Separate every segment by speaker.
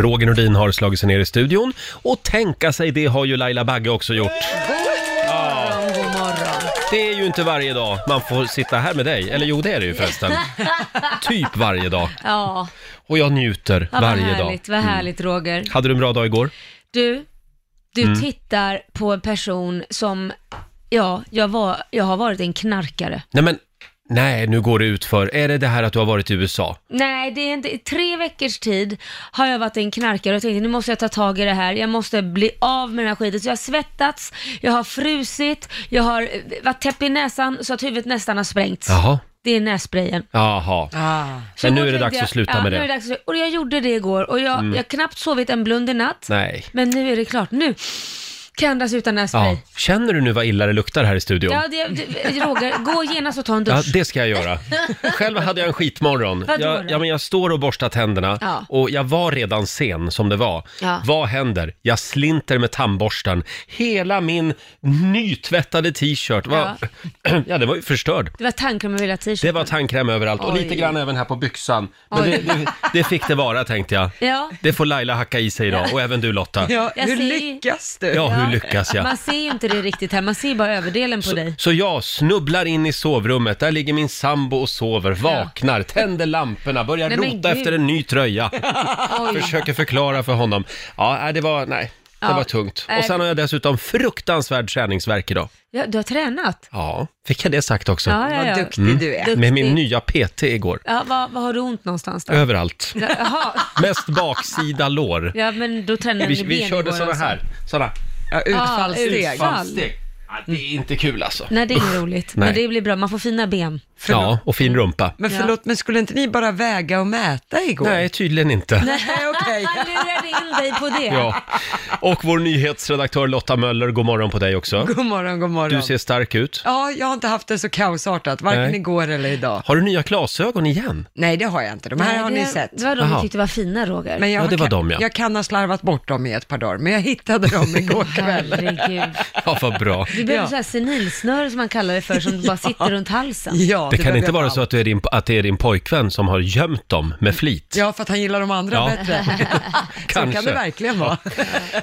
Speaker 1: Roger Nordin har slagit sig ner i studion. Och tänka sig, det har ju Laila Bagge också gjort.
Speaker 2: God morgon.
Speaker 1: Det är ju inte varje dag man får sitta här med dig. Eller jo, det är det ju förresten. Typ varje dag.
Speaker 2: Ja,
Speaker 1: Och jag njuter
Speaker 2: ja vad
Speaker 1: varje dag. Mm.
Speaker 2: härligt, vad härligt Roger.
Speaker 1: Hade du en bra dag igår?
Speaker 2: Du, du
Speaker 1: Mm.
Speaker 2: tittar på en person som, ja, jag, var, jag har varit en knarkare.
Speaker 1: Nej men, nej nu går det ut för. Är det det här att du har varit i USA?
Speaker 2: Nej, det är inte, i tre veckors tid har jag varit en knarkare och tänkte nu måste jag ta tag i det här, jag måste bli av med den här skiten. Så jag har svettats, jag har frusit, jag har eh, varit täppt i näsan så att huvudet nästan har sprängts.
Speaker 1: Jaha.
Speaker 2: Det är nässprayen.
Speaker 1: Jaha.
Speaker 3: Ah.
Speaker 2: Så
Speaker 1: Men nu
Speaker 2: igår
Speaker 1: är det
Speaker 2: tänkte
Speaker 1: dags
Speaker 2: jag-
Speaker 1: att sluta
Speaker 2: ja,
Speaker 1: med det. Mm.
Speaker 2: Nu är det dags att, och jag gjorde det igår och jag, jag har knappt sovit en blund i natt.
Speaker 1: Nej.
Speaker 2: Men nu är det klart. Nu kan jag andas utan
Speaker 1: Ja.
Speaker 2: nässpray.
Speaker 1: Känner du nu vad illa det luktar här i studion?
Speaker 2: Ja, det, det, Roger, gå genast och ta en
Speaker 1: Ja,
Speaker 2: dusch.
Speaker 1: det ska jag göra. Själv hade jag en skitmorgon.
Speaker 2: Vadå
Speaker 1: Jag,
Speaker 2: då?
Speaker 1: ja, men jag står och borstar tänderna
Speaker 2: Ja.
Speaker 1: och jag var redan sen som det var.
Speaker 2: Ja.
Speaker 1: Vad händer? Jag slinter med tandborsten. Hela min nytvättade t-shirt var... Ja. den var ju förstörd.
Speaker 2: Det var tanken med hela t-shirten.
Speaker 1: Det var tandkräm överallt och
Speaker 2: Oj.
Speaker 1: lite grann även här på byxan. Men
Speaker 2: Oj.
Speaker 1: det, det, det fick det vara tänkte jag.
Speaker 2: Ja.
Speaker 1: Det får Laila hacka i sig idag och även du Lotta.
Speaker 3: Ja,
Speaker 2: Jag
Speaker 3: hur
Speaker 2: ser ju-
Speaker 3: lyckas du?
Speaker 1: Ja, hur lyckas jag?
Speaker 2: Man ser ju inte det riktigt här, man ser ju bara överdelen på dig.
Speaker 1: Så jag snubblar in i sovrummet, där ligger min sambo och sover, vaknar, tänder lamporna, börjar
Speaker 2: Nej, men
Speaker 1: rota
Speaker 2: gud.
Speaker 1: efter en ny tröja.
Speaker 2: Oj.
Speaker 1: Försöker förklara för honom. Ja, nej, det var, nej, det
Speaker 2: Ja. Eh.
Speaker 1: var tungt.
Speaker 2: Nej.
Speaker 1: Och sen har jag dessutom fruktansvärd träningsvärk idag.
Speaker 2: Ja, du har tränat.
Speaker 1: Ja, fick jag det sagt också?
Speaker 2: Ja, ja,
Speaker 3: Vad
Speaker 2: ja.
Speaker 3: duktig
Speaker 1: Mm.
Speaker 3: du är.
Speaker 2: Du-
Speaker 1: Med min
Speaker 2: duktig.
Speaker 1: nya PT igår.
Speaker 2: Ja, vad, vad har du ont någonstans då?
Speaker 1: Överallt.
Speaker 2: Jaha.
Speaker 1: Mest baksida lår.
Speaker 2: Ja, men då tränade
Speaker 1: Vi,
Speaker 2: ben
Speaker 1: vi
Speaker 2: igår
Speaker 1: körde såna
Speaker 2: alltså.
Speaker 1: här, såna
Speaker 3: Ja, utfallssteg.
Speaker 2: utfall.
Speaker 1: fallsteg. Ja, det är inte kul alltså.
Speaker 2: Nej, det är inget roligt.
Speaker 1: Nej.
Speaker 2: Men det blir bra, man får fina ben.
Speaker 1: Ja, och fin rumpa.
Speaker 2: Mm.
Speaker 3: Men förlåt, men skulle inte ni bara väga och mäta igår?
Speaker 1: Nej, tydligen inte.
Speaker 3: Nej, okej.
Speaker 2: Han lurade in dig på det.
Speaker 1: Ja, och vår nyhetsredaktör Lotta Möller, god morgon på dig också.
Speaker 3: God morgon, god morgon.
Speaker 1: Du ser stark ut.
Speaker 3: Ja, jag har inte haft det så kaosartat, varken
Speaker 1: Nej.
Speaker 3: igår eller idag.
Speaker 1: Har du nya glasögon igen?
Speaker 3: Nej, det har jag inte. De här
Speaker 2: Nej,
Speaker 3: har
Speaker 2: det-
Speaker 3: ni sett.
Speaker 2: Det var de
Speaker 1: Jaha.
Speaker 2: du tyckte var fina, Roger.
Speaker 3: Men jag,
Speaker 1: Ja, det var
Speaker 3: kan,
Speaker 1: dem, ja.
Speaker 3: jag kan ha slarvat bort dem i ett par dagar, men jag hittade dem igår kväll.
Speaker 2: Herregud.
Speaker 1: Ja, vad bra.
Speaker 2: Du behöver
Speaker 3: Ja.
Speaker 2: så här senilsnöre som man kallar det för, som bara sitter runt halsen.
Speaker 3: Ja,
Speaker 1: Det kan
Speaker 3: behöver
Speaker 1: inte
Speaker 3: jag
Speaker 1: vara
Speaker 3: ha.
Speaker 1: så att det, är din, att det är din pojkvän som har gömt dem med flit.
Speaker 3: Ja, för att han gillar de andra
Speaker 1: Ja.
Speaker 3: bättre. Så
Speaker 1: Kanske.
Speaker 3: kan det verkligen vara.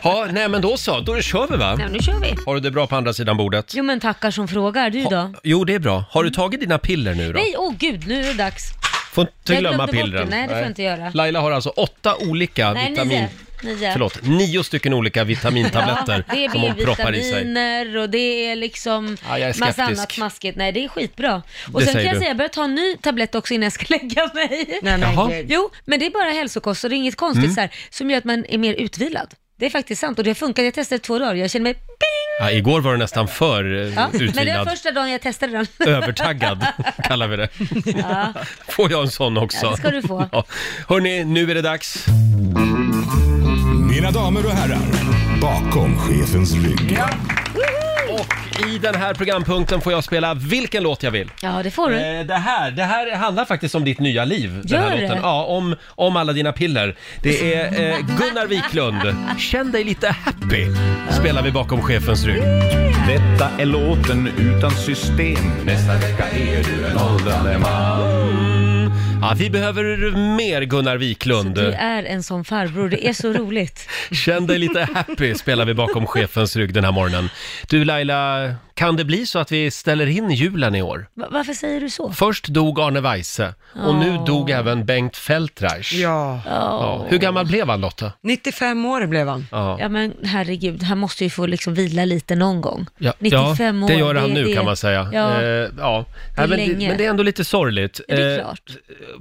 Speaker 1: Ja, nej men då så, då kör vi va?
Speaker 2: Ja, nu kör vi.
Speaker 1: Har du det bra på andra sidan bordet?
Speaker 2: Jo men tackar som frågar, du då?
Speaker 1: Jo, det är bra. Har du tagit dina piller nu då?
Speaker 2: Nej, åh oh, gud, nu är det dags.
Speaker 1: Får inte
Speaker 2: Jag
Speaker 1: glömma
Speaker 2: glömde bort
Speaker 1: pillren.
Speaker 2: det. Nej, det får jag inte göra.
Speaker 1: Laila har alltså åtta olika
Speaker 2: Nej,
Speaker 1: vitamin...
Speaker 2: nio. nio.
Speaker 1: Förlåt, nio stycken olika vitamintabletter
Speaker 2: Ja, det är
Speaker 1: som hon proppar i sig.
Speaker 2: B-vitaminer och det är liksom
Speaker 1: Ja, jag är
Speaker 2: massa
Speaker 1: skeptisk.
Speaker 2: annat maskigt. Nej, det är skitbra. Och
Speaker 1: Det
Speaker 2: sen kan
Speaker 1: säger
Speaker 2: jag
Speaker 1: du.
Speaker 2: säga, jag börjar ta en ny tablett också innan jag ska lägga mig.
Speaker 3: Nej, men
Speaker 1: Jaha.
Speaker 3: gud.
Speaker 2: Jo, men det är bara hälsokost och det är inget konstigt
Speaker 1: Mm.
Speaker 2: så här, som gör att man är mer utvilad. Det är faktiskt sant och det har funkat. Jag testade två dagar jag känner mig
Speaker 1: Ja, igår var du nästan för
Speaker 2: ja.
Speaker 1: ja.
Speaker 2: Men det var
Speaker 1: utvilad.
Speaker 2: första dagen jag testade den.
Speaker 1: Övertaggad kallar vi det.
Speaker 2: Ja.
Speaker 1: Får jag en sån också?
Speaker 2: Ja, det ska du få.
Speaker 1: Ja. Hörni, nu är det dags.
Speaker 4: Mina damer och herrar, bakom chefens rygg.
Speaker 1: Och i den här programpunkten får jag spela vilken låt jag vill.
Speaker 2: ja, det får du.
Speaker 1: Eh, Det här, det här handlar faktiskt om ditt nya liv. Den
Speaker 2: Gör
Speaker 1: här
Speaker 2: det?
Speaker 1: låten. Ja, om, om alla dina piller. Det är eh, Gunnar Wiklund. Känn dig lite happy, spelar vi bakom chefens rygg.
Speaker 5: Detta är låten utan system. Nästa vecka är du en åldrande man.
Speaker 1: Mm. Ja, vi behöver mer Gunnar Wiklund.
Speaker 2: Du är en sån farbror, det är så roligt.
Speaker 1: Känn dig lite happy spelar vi bakom chefens rygg den här morgonen. Du Laila, kan det bli så att vi ställer in julen i år?
Speaker 2: Va- varför säger du så?
Speaker 1: Först dog Arne Weise och nu
Speaker 2: Åh.
Speaker 1: dog även Bengt Feldreich.
Speaker 3: Ja,
Speaker 1: Ja. Hur gammal blev han Lotta?
Speaker 3: 95 år blev han.
Speaker 1: Ja.
Speaker 2: Ja men herregud, han måste ju få liksom vila lite någon gång.
Speaker 1: Ja,
Speaker 2: 95
Speaker 1: ja,
Speaker 2: år.
Speaker 1: det gör han nu kan man säga.
Speaker 2: Ja,
Speaker 1: Eh, ja. Nej, men, det,
Speaker 2: länge.
Speaker 1: men det är ändå lite sorgligt.
Speaker 2: det är
Speaker 1: Eh,
Speaker 2: klart.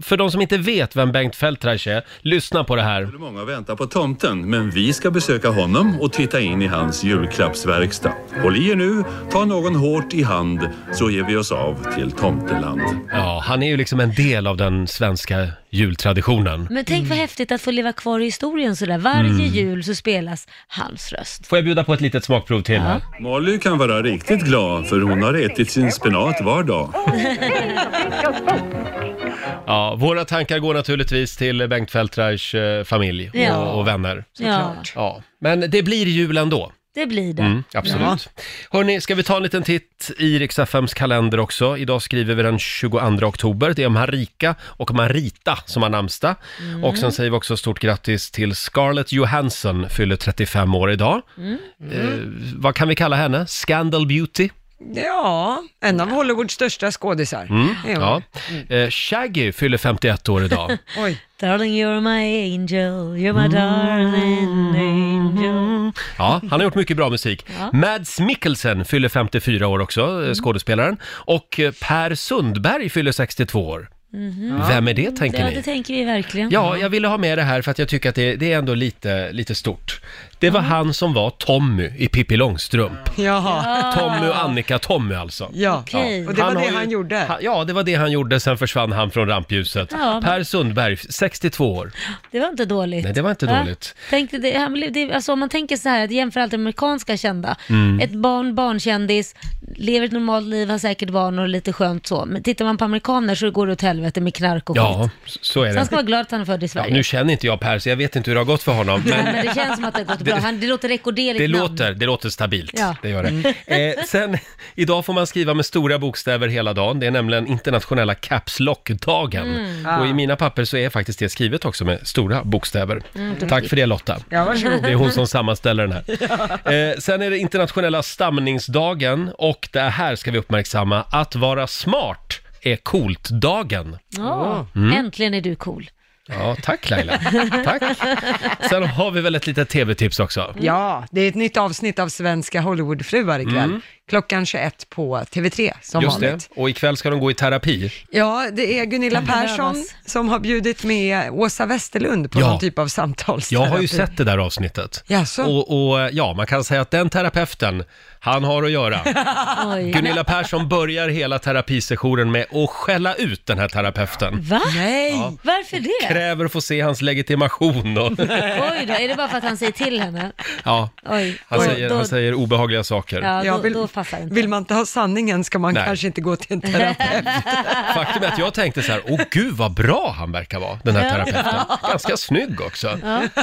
Speaker 1: För de som inte vet vem Bengt Feldreich är, lyssna på det här.
Speaker 6: Många väntar på tomten, men vi ska besöka honom och titta in i hans julklappsverkstad. Håll i er nu, ta någon hårt i hand, så ger vi oss av till tomteland.
Speaker 1: Ja, han är ju liksom en del av den svenska jultraditionen.
Speaker 2: Men tänk vad häftigt att få leva kvar i historien sådär. Varje
Speaker 1: Mm.
Speaker 2: jul så spelas hans röst.
Speaker 1: Får jag bjuda på ett litet smakprov till? här?
Speaker 6: Molly kan vara riktigt glad, för hon har ätit sin spenat var dag.
Speaker 1: Ja, våra tankar går naturligtvis till Bengt Feldreichs eh, familj
Speaker 2: Ja.
Speaker 1: och, och vänner.
Speaker 2: Ja.
Speaker 1: Ja, men det blir jul ändå.
Speaker 2: Det blir det.
Speaker 1: Mm, absolut. Hörni, ska vi ta en liten titt i Riks-FMs kalender också? Idag skriver vi den 22 oktober. Det är Marika och Marita som har namnsdag. Och sen säger vi också stort grattis till Scarlett Johansson, fyller 35 år idag. Eh, vad kan vi kalla henne? Scandal Beauty?
Speaker 3: Ja, en av Hollywoods största skådisar.
Speaker 1: Mm,
Speaker 3: Det är
Speaker 1: ja.
Speaker 3: hon.
Speaker 1: Eh, Shaggy fyller 51 år idag.
Speaker 3: Oj.
Speaker 2: Darling you're my angel, you're
Speaker 1: Mm.
Speaker 2: my darling angel.
Speaker 1: Ja, han har gjort mycket bra musik. Mads Mikkelsen fyller 54 år också,
Speaker 2: Mm.
Speaker 1: eh, skådespelaren. Och eh, Per Sundberg fyller 62 år. Vem är det tänker
Speaker 2: Mm-hmm. Ja,
Speaker 1: ni?
Speaker 2: det tänker vi verkligen.
Speaker 1: Ja, jag ville ha med det här för att jag tycker att det, det är ändå lite, lite stort. Det var han som var Tommy i Pippi Långstrump.
Speaker 3: Jaha.
Speaker 2: Ah.
Speaker 1: Tommy och Annika-Tommy alltså.
Speaker 3: Ja.
Speaker 2: Okej.
Speaker 3: Och det var
Speaker 1: har
Speaker 3: det
Speaker 1: ju-
Speaker 3: han gjorde.
Speaker 1: ha- Ja, det var det han gjorde, sen försvann han från rampljuset.
Speaker 2: Ja.
Speaker 1: Per Sundberg, 62 år.
Speaker 2: Det var inte dåligt.
Speaker 1: Nej, det var inte
Speaker 2: Va?
Speaker 1: dåligt.
Speaker 2: Tänkte det, han blev, det, alltså, om man tänker så här, att jämför allt amerikanska kända.
Speaker 1: Mm.
Speaker 2: Ett barn, barnkändis, lever ett normalt liv, har säkert barn och lite skönt så. Men tittar man på amerikaner så går det åt helvete med knark och
Speaker 1: Ja,
Speaker 2: skit.
Speaker 1: s- så är
Speaker 2: Så han
Speaker 1: det.
Speaker 2: ska vara glad att han är född i
Speaker 1: Ja,
Speaker 2: Sverige.
Speaker 1: nu känner inte jag Per, så jag vet inte hur det har gått för honom. Men...
Speaker 2: Men det känns som att det har gått bra. Han, det låter rekorderligt
Speaker 1: Det
Speaker 2: namn.
Speaker 1: låter, det låter stabilt.
Speaker 2: Ja. Mm.
Speaker 1: Det gör det. Eh, sen, idag får man skriva med stora bokstäver hela dagen. Det är nämligen internationella caps lock-dagen.
Speaker 2: Mm.
Speaker 1: Och i mina papper så är faktiskt det skrivet också med stora bokstäver.
Speaker 2: Mm.
Speaker 1: Tack för det Lotta.
Speaker 3: Ja, varsågod.
Speaker 1: Det är hon som sammanställer den här. Eh, sen är det internationella stamningsdagen och det här ska vi uppmärksamma. Att vara smart är coolt-dagen.
Speaker 2: Ja, Mm.
Speaker 1: Mm.
Speaker 2: Äntligen är du cool.
Speaker 1: Ja, tack Laila. Tack. Sen har vi väl ett litet tv-tips också.
Speaker 3: Ja, det är ett nytt avsnitt av Svenska Hollywoodfruar ikväll. Klockan 21 på TV3 som
Speaker 1: Mm. Just det.
Speaker 3: vanligt.
Speaker 1: Och ikväll ska de gå i terapi.
Speaker 3: Ja, det är Gunilla
Speaker 2: Kan behövas.
Speaker 3: Persson som har bjudit med Åsa Westerlund på
Speaker 1: Ja.
Speaker 3: någon typ av samtalsterapi.
Speaker 1: Jag har ju sett det där avsnittet.
Speaker 3: Jaså?
Speaker 1: Och, och ja, man kan säga att den terapeuten, han har att göra.
Speaker 2: Oj.
Speaker 1: Gunilla Persson börjar hela terapisessionen med att skälla ut den här terapeuten.
Speaker 2: Va?
Speaker 3: Nej!
Speaker 2: Varför det?
Speaker 1: Kräver att få se hans legitimation och
Speaker 2: Oj då, är det bara för att han säger till henne?
Speaker 1: ja,
Speaker 2: Oj.
Speaker 1: han
Speaker 2: Oj,
Speaker 1: säger,
Speaker 2: då,
Speaker 1: han säger obehagliga saker.
Speaker 2: Ja,
Speaker 3: Ja,
Speaker 2: då,
Speaker 3: vill-
Speaker 2: då passar det inte.
Speaker 3: Vill man inte ha sanningen ska man
Speaker 1: Nej.
Speaker 3: kanske inte gå till en terapeut.
Speaker 1: Faktum är att jag tänkte så här, åh gud vad bra han verkar vara, den här
Speaker 2: Ja.
Speaker 1: terapeuten. Ganska snygg också.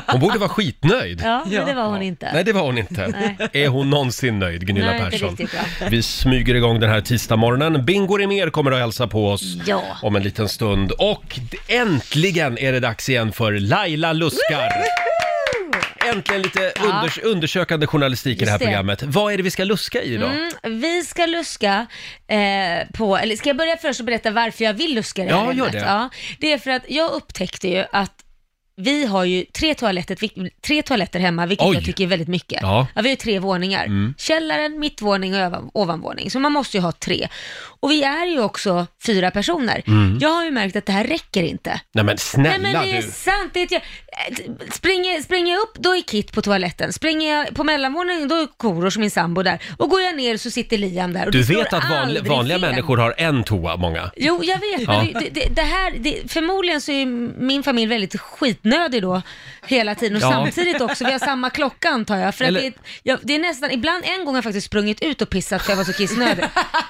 Speaker 1: Hon borde vara skitnöjd.
Speaker 2: Ja, men det var hon inte.
Speaker 1: Nej, det var hon inte. Är hon någonsin nöjd, Gunilla
Speaker 2: Nej, inte
Speaker 1: Persson?
Speaker 2: riktigt, ja.
Speaker 1: Vi smyger igång den här tisdagsmorgonen. Bingo mer kommer att hälsa på oss
Speaker 2: Ja.
Speaker 1: om en liten stund. Och d- äntligen är det dags igen för Laila Luskar! Äntligen lite unders- undersökande journalistik i det här
Speaker 2: Just det.
Speaker 1: programmet. Vad är det vi ska luska i idag?
Speaker 2: Mm, vi ska luska eh, på, eller ska jag börja först och berätta varför jag vill luska i det här
Speaker 1: Ja, gör
Speaker 2: ämnet?
Speaker 1: det.
Speaker 2: Ja, det är för att jag upptäckte ju att vi har ju tre toaletter, vil- tre toaletter hemma, vilket
Speaker 1: Oj.
Speaker 2: jag tycker är väldigt mycket.
Speaker 1: Ja. Mm.
Speaker 2: vi har ju tre våningar. Källaren, mittvåning och övan, ovanvåning. Så man måste ju ha tre. Och vi är ju också fyra personer.
Speaker 1: Mm.
Speaker 2: Jag har ju märkt att det här räcker inte.
Speaker 1: Nej men snälla
Speaker 2: Nej men det är
Speaker 1: du!
Speaker 2: sant. Det är ett jag... eh, springer, springer jag upp, då är Kit på toaletten. Springer jag på mellanvåningen, då är Korosh, min sambo, där. Och går jag ner så sitter Liam där. Och
Speaker 1: Du
Speaker 2: det slår
Speaker 1: vet att vanliga,
Speaker 2: aldrig
Speaker 1: vanliga
Speaker 2: fel.
Speaker 1: människor har en toa, många.
Speaker 2: Jo, jag vet, men det, det, det här, det, förmodligen så är ju min familj väldigt skitnödig då hela tiden och
Speaker 1: Ja.
Speaker 2: samtidigt också, vi har samma klocka antar jag. För
Speaker 1: Eller-
Speaker 2: att det, är, jag, det är nästan, ibland en gång har jag faktiskt sprungit ut och pissat för jag var så kissnödig.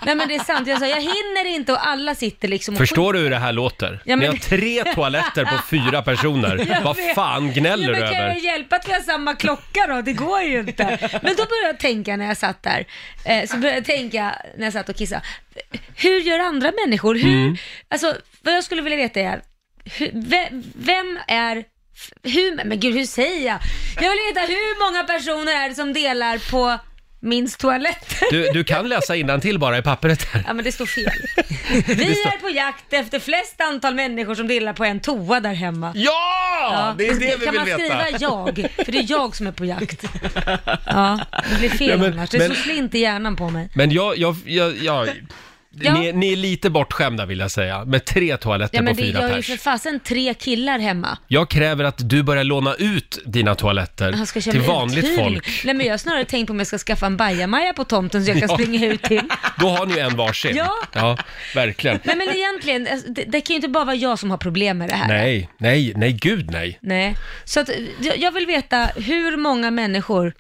Speaker 2: Nej men det är sant, jag sa jag hinner inte och alla sitter liksom och
Speaker 1: Förstår du hur det här låter?
Speaker 2: Ja, men-
Speaker 1: Ni har tre toaletter på fyra personer.
Speaker 2: Jag
Speaker 1: Vad
Speaker 2: vet.
Speaker 1: fan gnäller
Speaker 2: ja,
Speaker 1: du
Speaker 2: men Kan
Speaker 1: över?
Speaker 2: jag hjälpa att vi har samma klocka då? Det går ju inte. Men då började jag tänka när jag satt där, eh, så började jag tänka när jag satt och kissade, hur gör andra människor? Hur,
Speaker 1: Mm.
Speaker 2: alltså, vad jag skulle vilja veta är, hur, ve- vem är f- hur, men gud, hur säger jag? Jag vill veta hur många personer är det som delar på minst toaletter?
Speaker 1: Du, du kan läsa till bara i pappret här.
Speaker 2: Ja, men det står fel. Vi är på jakt efter flest antal människor som delar på en toa där hemma.
Speaker 1: Ja!
Speaker 2: Ja,
Speaker 1: Det är det vi vill
Speaker 2: kan man
Speaker 1: veta.
Speaker 2: skriva jag? För det är jag som är på jakt. Ja, det blir fel
Speaker 1: Ja, men-
Speaker 2: annars. Det
Speaker 1: men-
Speaker 2: är så slint i hjärnan på mig.
Speaker 1: Men jag, jag, jag, jag
Speaker 2: Ja.
Speaker 1: Ni, ni är lite bortskämda vill jag säga, med tre toaletter
Speaker 2: Ja, men
Speaker 1: på
Speaker 2: det
Speaker 1: fyra
Speaker 2: gör ju
Speaker 1: pers. Mm.
Speaker 2: för fasen tre killar hemma.
Speaker 1: Jag kräver att du börjar låna ut dina toaletter
Speaker 2: Han ska köra
Speaker 1: till
Speaker 2: med
Speaker 1: vanligt
Speaker 2: uthyrning.
Speaker 1: folk.
Speaker 2: Nej, men jag har snarare tänkt på om jag ska skaffa en bajamaja på tomten så jag kan
Speaker 1: Ja.
Speaker 2: springa ut till.
Speaker 1: Då har ni en varsin.
Speaker 2: Ja.
Speaker 1: verkligen.
Speaker 2: Nej, men egentligen, alltså, det, det kan ju inte bara vara jag som har problem med det här.
Speaker 1: Nej, nej, nej, gud nej.
Speaker 2: Nej. Så att, jag- jag vill veta hur många människor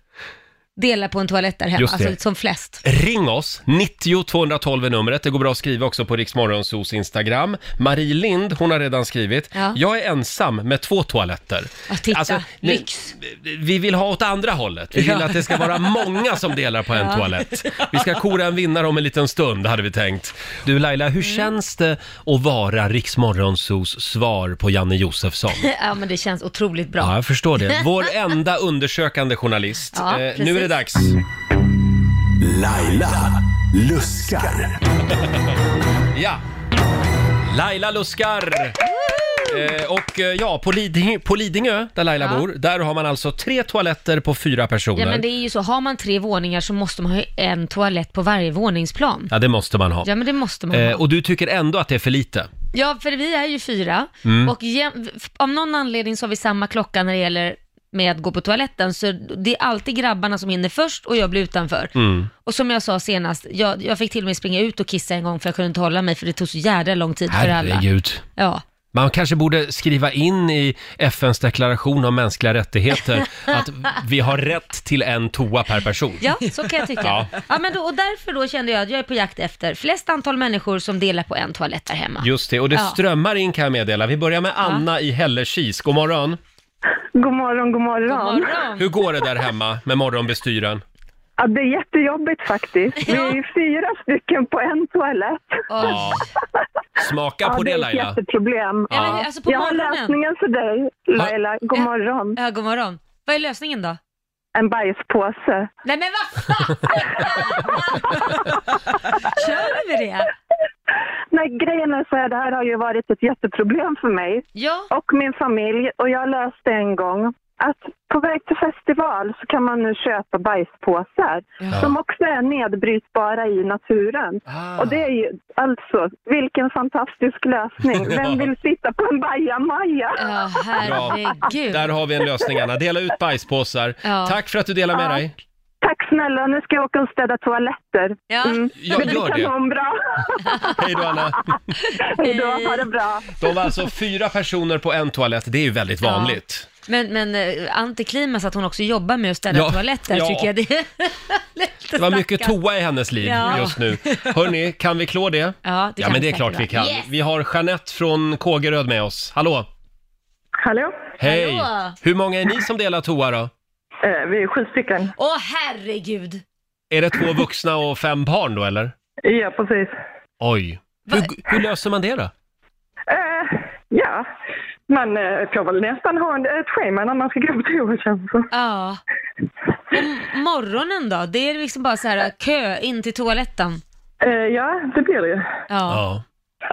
Speaker 2: delar på en toalett där hemma,
Speaker 1: Just det.
Speaker 2: alltså som flest.
Speaker 1: Ring oss, 90 212 är numret. Det går bra att skriva också på Riksmorgonsos Instagram. Marie Lind, hon har redan skrivit.
Speaker 2: Ja.
Speaker 1: Jag är ensam med två toaletter.
Speaker 2: Ja, titta,
Speaker 1: nu-
Speaker 2: lyx.
Speaker 1: Vi vill ha åt andra hållet. Vi vill
Speaker 3: Ja.
Speaker 1: att det ska vara många som delar på en
Speaker 2: Ja.
Speaker 1: toalett. Vi ska kora en vinnare om en liten stund, hade vi tänkt. Du Laila, hur
Speaker 2: Mm.
Speaker 1: känns det att vara Riksmorgonsos svar på Janne Josefsson?
Speaker 2: Ja men det känns otroligt bra.
Speaker 1: Ja, jag förstår det. Vår enda undersökande journalist.
Speaker 2: Ja,
Speaker 1: Eh, nu
Speaker 2: precis.
Speaker 1: är det dags.
Speaker 4: Laila luskar.
Speaker 1: Ja. Laila luskar. Eh, och eh, ja, på, Liding på Lidingö, där Laila
Speaker 2: Ja.
Speaker 1: bor, där har man alltså tre toaletter på fyra personer.
Speaker 2: Ja men det är ju så, har man tre våningar så måste man ha en toalett på varje våningsplan.
Speaker 1: Ja, det måste man ha.
Speaker 2: Ja men det måste man ha.
Speaker 1: Eh, och du tycker ändå att det är för lite?
Speaker 2: Ja, för vi är ju fyra
Speaker 1: Mm.
Speaker 2: och jäm- av någon anledning så har vi samma klocka när det gäller med att gå på toaletten, så det är alltid grabbarna som hinner först och jag blir utanför.
Speaker 1: Mm.
Speaker 2: Och som jag sa senast, jag, jag fick till och med springa ut och kissa en gång för jag kunde inte hålla mig för det tog så jädra lång tid för alla.
Speaker 1: Herregud.
Speaker 2: Ja.
Speaker 1: Man kanske borde skriva in i FNs deklaration om mänskliga rättigheter att vi har rätt till en toa per person.
Speaker 2: ja, så kan jag tycka.
Speaker 1: Ja.
Speaker 2: ja. men då, och därför då kände jag att jag är på jakt efter flest antal människor som delar på en toalett där hemma.
Speaker 1: Just det, och det
Speaker 2: Ja.
Speaker 1: strömmar in kan jag meddela. Vi börjar med Anna i Hällekis. God morgon.
Speaker 7: God morgon, god morgon.
Speaker 2: God morgon.
Speaker 1: Hur går det där hemma med morgonbestyren?
Speaker 7: Ja, det är jättejobbigt faktiskt. Vi
Speaker 2: Ja.
Speaker 7: är ju fyra stycken på en toalett.
Speaker 2: Oj.
Speaker 1: Smaka på det,
Speaker 7: det är ett
Speaker 1: Laila.
Speaker 7: jätteproblem.
Speaker 2: Ja. men hur- alltså på
Speaker 7: Jag har
Speaker 2: morgonen.
Speaker 7: lösningen för dig, Laila. God
Speaker 2: Ja.
Speaker 7: morgon.
Speaker 2: Ja, god morgon. Vad är lösningen då?
Speaker 7: En bajspåse.
Speaker 2: Nej men vad fan! Kör vi det?
Speaker 7: Nej, grejen är så här, det här har ju varit ett jätteproblem för mig
Speaker 2: Ja,
Speaker 7: och min familj. Och jag löste en gång att på väg till festival så kan man nu köpa bajspåsar
Speaker 2: Ja.
Speaker 7: som också är nedbrytbara i naturen.
Speaker 1: Ah.
Speaker 7: Och det är ju, alltså, vilken fantastisk lösning. Vem vill sitta på en bajamaja?
Speaker 2: ja herregud.
Speaker 1: Där har vi en lösning Anna. Dela ut bajspåsar.
Speaker 2: Ja.
Speaker 1: Tack för att du delar med
Speaker 7: Ja.
Speaker 1: dig.
Speaker 7: Tack snälla, nu ska jag åka och städa toaletter.
Speaker 2: Ja.
Speaker 7: Mm.
Speaker 1: Ja, gör
Speaker 7: blir
Speaker 1: det.
Speaker 7: kanonbra.
Speaker 1: Hej då Anna.
Speaker 7: Hej då, ha det bra.
Speaker 1: De var alltså fyra personer på en toalett. Det är ju väldigt
Speaker 2: Ja.
Speaker 1: vanligt.
Speaker 2: Men, men eh, antiklimax att hon också jobbar med att städa
Speaker 1: Ja.
Speaker 2: toaletter
Speaker 1: Ja.
Speaker 2: tycker jag. Det, är lite
Speaker 1: Det var mycket
Speaker 2: stackarn.
Speaker 1: toa i hennes liv
Speaker 2: Ja.
Speaker 1: just nu. Hörni, kan vi klå det?
Speaker 2: Ja, det
Speaker 1: ja
Speaker 2: kan
Speaker 1: men det är
Speaker 2: vi säkert,
Speaker 1: klart vi
Speaker 2: va?
Speaker 1: kan.
Speaker 2: Yes!
Speaker 1: Vi har Jeanette från Kågeröd med oss. Hallå!
Speaker 7: Hallå?
Speaker 1: Hej!
Speaker 2: Hallå.
Speaker 1: Hur många är ni som delar toa då?
Speaker 7: Eh, vi är sju stycken.
Speaker 2: Åh herregud.
Speaker 1: Är det två vuxna och fem barn då eller?
Speaker 7: Ja, precis.
Speaker 1: Oj. Hur, hur löser man det då?
Speaker 7: Eh, ja, man eh, får väl nästan ha en, ett schema när man ska gå på toa känns det som.
Speaker 2: Ja. Och m- morgonen då? Det är liksom bara så här kö in till toaletten.
Speaker 7: eh, Ja, det blir det ju.
Speaker 2: Ja.
Speaker 1: Ja.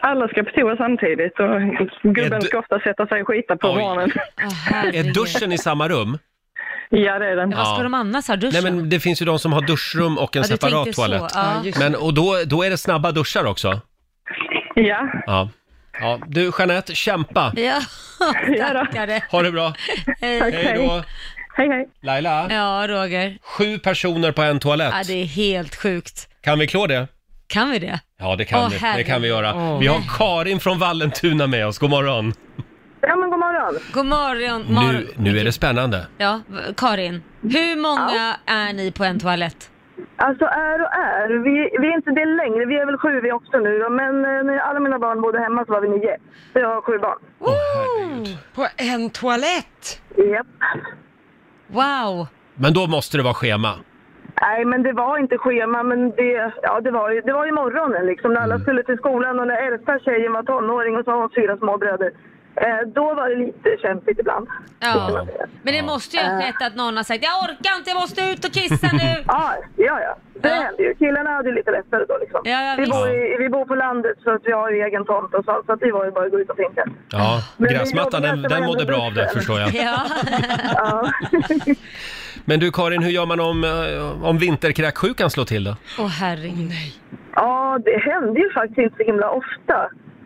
Speaker 7: Alla ska på toa samtidigt och
Speaker 1: Är
Speaker 7: gubben
Speaker 1: du-
Speaker 7: ska ofta sätta sig och skita på
Speaker 1: Oj.
Speaker 7: morgonen.
Speaker 2: Åh,
Speaker 1: Är
Speaker 2: herregud.
Speaker 1: duschen i samma rum?
Speaker 7: Ja, det är den.
Speaker 2: Ja, vad ska
Speaker 1: Ja.
Speaker 2: de annars ha?
Speaker 1: Nej
Speaker 2: Duschen?
Speaker 1: men det finns ju de som har duschrum och en
Speaker 2: ja, du
Speaker 1: separat
Speaker 2: tänkte så.
Speaker 1: toalett.
Speaker 2: Ja.
Speaker 3: Ja, just
Speaker 1: Men, och då, då är det snabba duschar också?
Speaker 7: Ja,
Speaker 1: Ja. ja. Du, Jeanette, kämpa!
Speaker 2: Ja,
Speaker 7: Ja då.
Speaker 2: tackare.
Speaker 1: Ha det bra!
Speaker 2: Hej.
Speaker 1: Hej då!
Speaker 7: hej hej.
Speaker 1: Laila,
Speaker 2: Ja, Roger.
Speaker 1: sju personer på en
Speaker 2: Ja,
Speaker 1: toalett.
Speaker 2: det är helt sjukt.
Speaker 1: Kan vi klå det?
Speaker 2: Kan vi det?
Speaker 1: Ja, det kan
Speaker 2: Åh,
Speaker 1: vi. Det
Speaker 2: herregud.
Speaker 1: kan vi göra.
Speaker 3: Åh.
Speaker 1: Vi har Karin från Vallentuna med oss. God morgon!
Speaker 7: Ja, men god morgon.
Speaker 2: God morgon, Mar-
Speaker 1: Nu, nu är det spännande.
Speaker 2: Ja, v- Karin. Hur många är ni på en toalett?
Speaker 7: Alltså är och är. Vi, vi är inte det längre. Vi är väl sju vi också nu. då. Men eh, när alla mina barn bodde hemma så var vi nio. Så jag har sju barn.
Speaker 1: Åh, herregud.
Speaker 3: På en toalett?
Speaker 7: Japp.
Speaker 2: Wow!
Speaker 1: Men då måste det vara schema.
Speaker 7: Nej, men det var inte schema, men det, ja, det, var, ju, det var ju morgonen liksom. När
Speaker 1: Mm.
Speaker 7: alla skulle till skolan och när äldsta tjejen var tonåring och så har hon fyra små bröder. Eh, då var det lite kämpigt ibland.
Speaker 2: Ja. Men det måste ju ha skett att någon har sagt jag orkar inte, jag måste ut och kissa nu.
Speaker 7: Ja, ja, ja. Det
Speaker 2: Ja.
Speaker 7: hände ju. Killarna hade ju lite lättare då liksom.
Speaker 2: Ja, ja,
Speaker 7: vi,
Speaker 2: visst.
Speaker 7: bor i, vi bor på landet så att vi har ju egen tomt och så, så att det var ju bara att gå ut och finka.
Speaker 1: Ja,
Speaker 7: Men det är
Speaker 1: gräsmattan den,
Speaker 7: jobbigast att
Speaker 1: den
Speaker 7: vara
Speaker 1: mådde
Speaker 7: under
Speaker 1: bra av det
Speaker 7: duschen.
Speaker 1: förstår jag.
Speaker 2: Ja.
Speaker 7: Ja.
Speaker 1: Men du Karin, hur gör man om, eh, om vinterkräksjukan slår till då?
Speaker 2: Åh herregud. Nej.
Speaker 7: Ja, det hände ju faktiskt inte så himla ofta.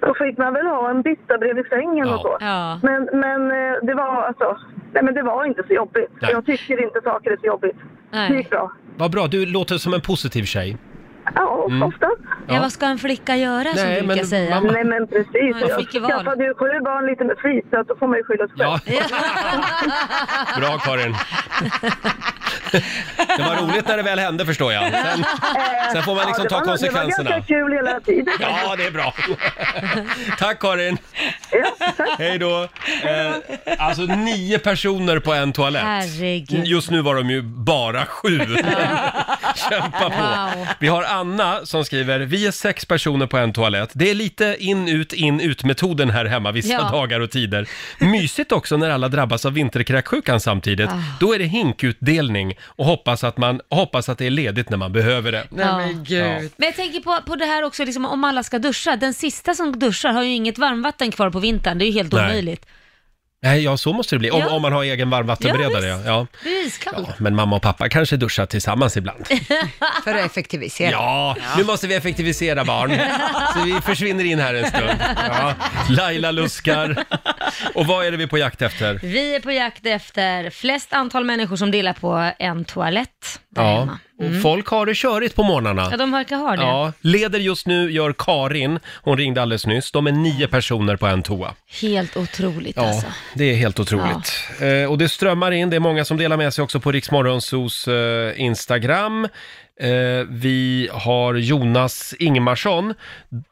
Speaker 7: Då fick man väl ha en bytta bredvid sängen
Speaker 1: Ja.
Speaker 7: och så.
Speaker 2: Ja.
Speaker 7: Men, men, eh, det var, alltså, nej, men det var inte så jobbigt.
Speaker 1: Nej.
Speaker 7: Jag tycker inte saker är så jobbigt. Det
Speaker 2: Nej.
Speaker 7: gick bra.
Speaker 1: Vad bra, du låter som en positiv tjej.
Speaker 7: Ja, oftast.
Speaker 2: Ja, vad ska en flicka göra som
Speaker 1: Nej,
Speaker 2: du brukar
Speaker 1: Mm. men
Speaker 2: säga?
Speaker 1: mamma-
Speaker 7: Nej, men precis.
Speaker 2: Ja, jag
Speaker 7: jag
Speaker 2: fick ju val.
Speaker 7: skaffade ju sju barn lite med flit, så att då får man ju skylla sig själv.
Speaker 1: Ja. Bra Karin. Det var roligt när det väl hände förstår jag. Sen, sen får man liksom
Speaker 7: det
Speaker 1: ta
Speaker 7: var- Det
Speaker 1: konsekvenserna.
Speaker 7: var ganska kul hela tiden.
Speaker 1: Ja, det är bra. Tack Karin. Hej då. Eh, alltså nio personer på en toalett.
Speaker 2: Herregud.
Speaker 1: Just nu var de ju bara sju. Kämpa på.
Speaker 2: Wow.
Speaker 1: Vi har Anna som skriver, vi är sex personer på en toalett. Det är lite in, ut, in, ut metoden här hemma vissa
Speaker 2: Ja.
Speaker 1: dagar och tider. Mysigt också när alla drabbas av vinterkräksjukan samtidigt.
Speaker 2: Ah.
Speaker 1: Då är det hinkutdelning och hoppas att, man, hoppas att det är ledigt när man behöver det.
Speaker 3: Nej
Speaker 2: Ja.
Speaker 3: men gud.
Speaker 2: Men jag tänker på, på det här också, liksom, om alla ska duscha. Den sista som duschar har ju inget varmvatten kvar på vintern. Det är ju helt
Speaker 1: Nej.
Speaker 2: omöjligt.
Speaker 1: Nej, ja så måste det bli. Om,
Speaker 2: Ja.
Speaker 1: om man har egen varmvattenberedare.
Speaker 2: Ja,
Speaker 1: Ja,
Speaker 2: visst.
Speaker 1: ja.
Speaker 2: Det är iskallt.
Speaker 1: Ja, men mamma och pappa kanske duschar tillsammans ibland.
Speaker 3: För att effektivisera.
Speaker 1: Ja, nu måste vi effektivisera barn. Så vi försvinner in här en stund. Ja. Laila luskar. Och vad är det vi är på jakt efter?
Speaker 2: Vi är på jakt efter flest antal människor som delar på en toalett där
Speaker 1: Ja,
Speaker 2: hemma.
Speaker 1: och folk har det körigt på
Speaker 2: Mm. Ja,
Speaker 1: morgnarna.
Speaker 2: de verkar ha det.
Speaker 1: Ja, leder just nu gör Karin. Hon ringde alldeles nyss. De är nio personer på en toa.
Speaker 2: Helt otroligt
Speaker 1: Ja,
Speaker 2: alltså.
Speaker 1: det är helt otroligt. Eh, och det strömmar in, det är många som delar med sig också på Riksmorgonsos eh, Instagram. Eh, vi har Jonas Ingmarsson.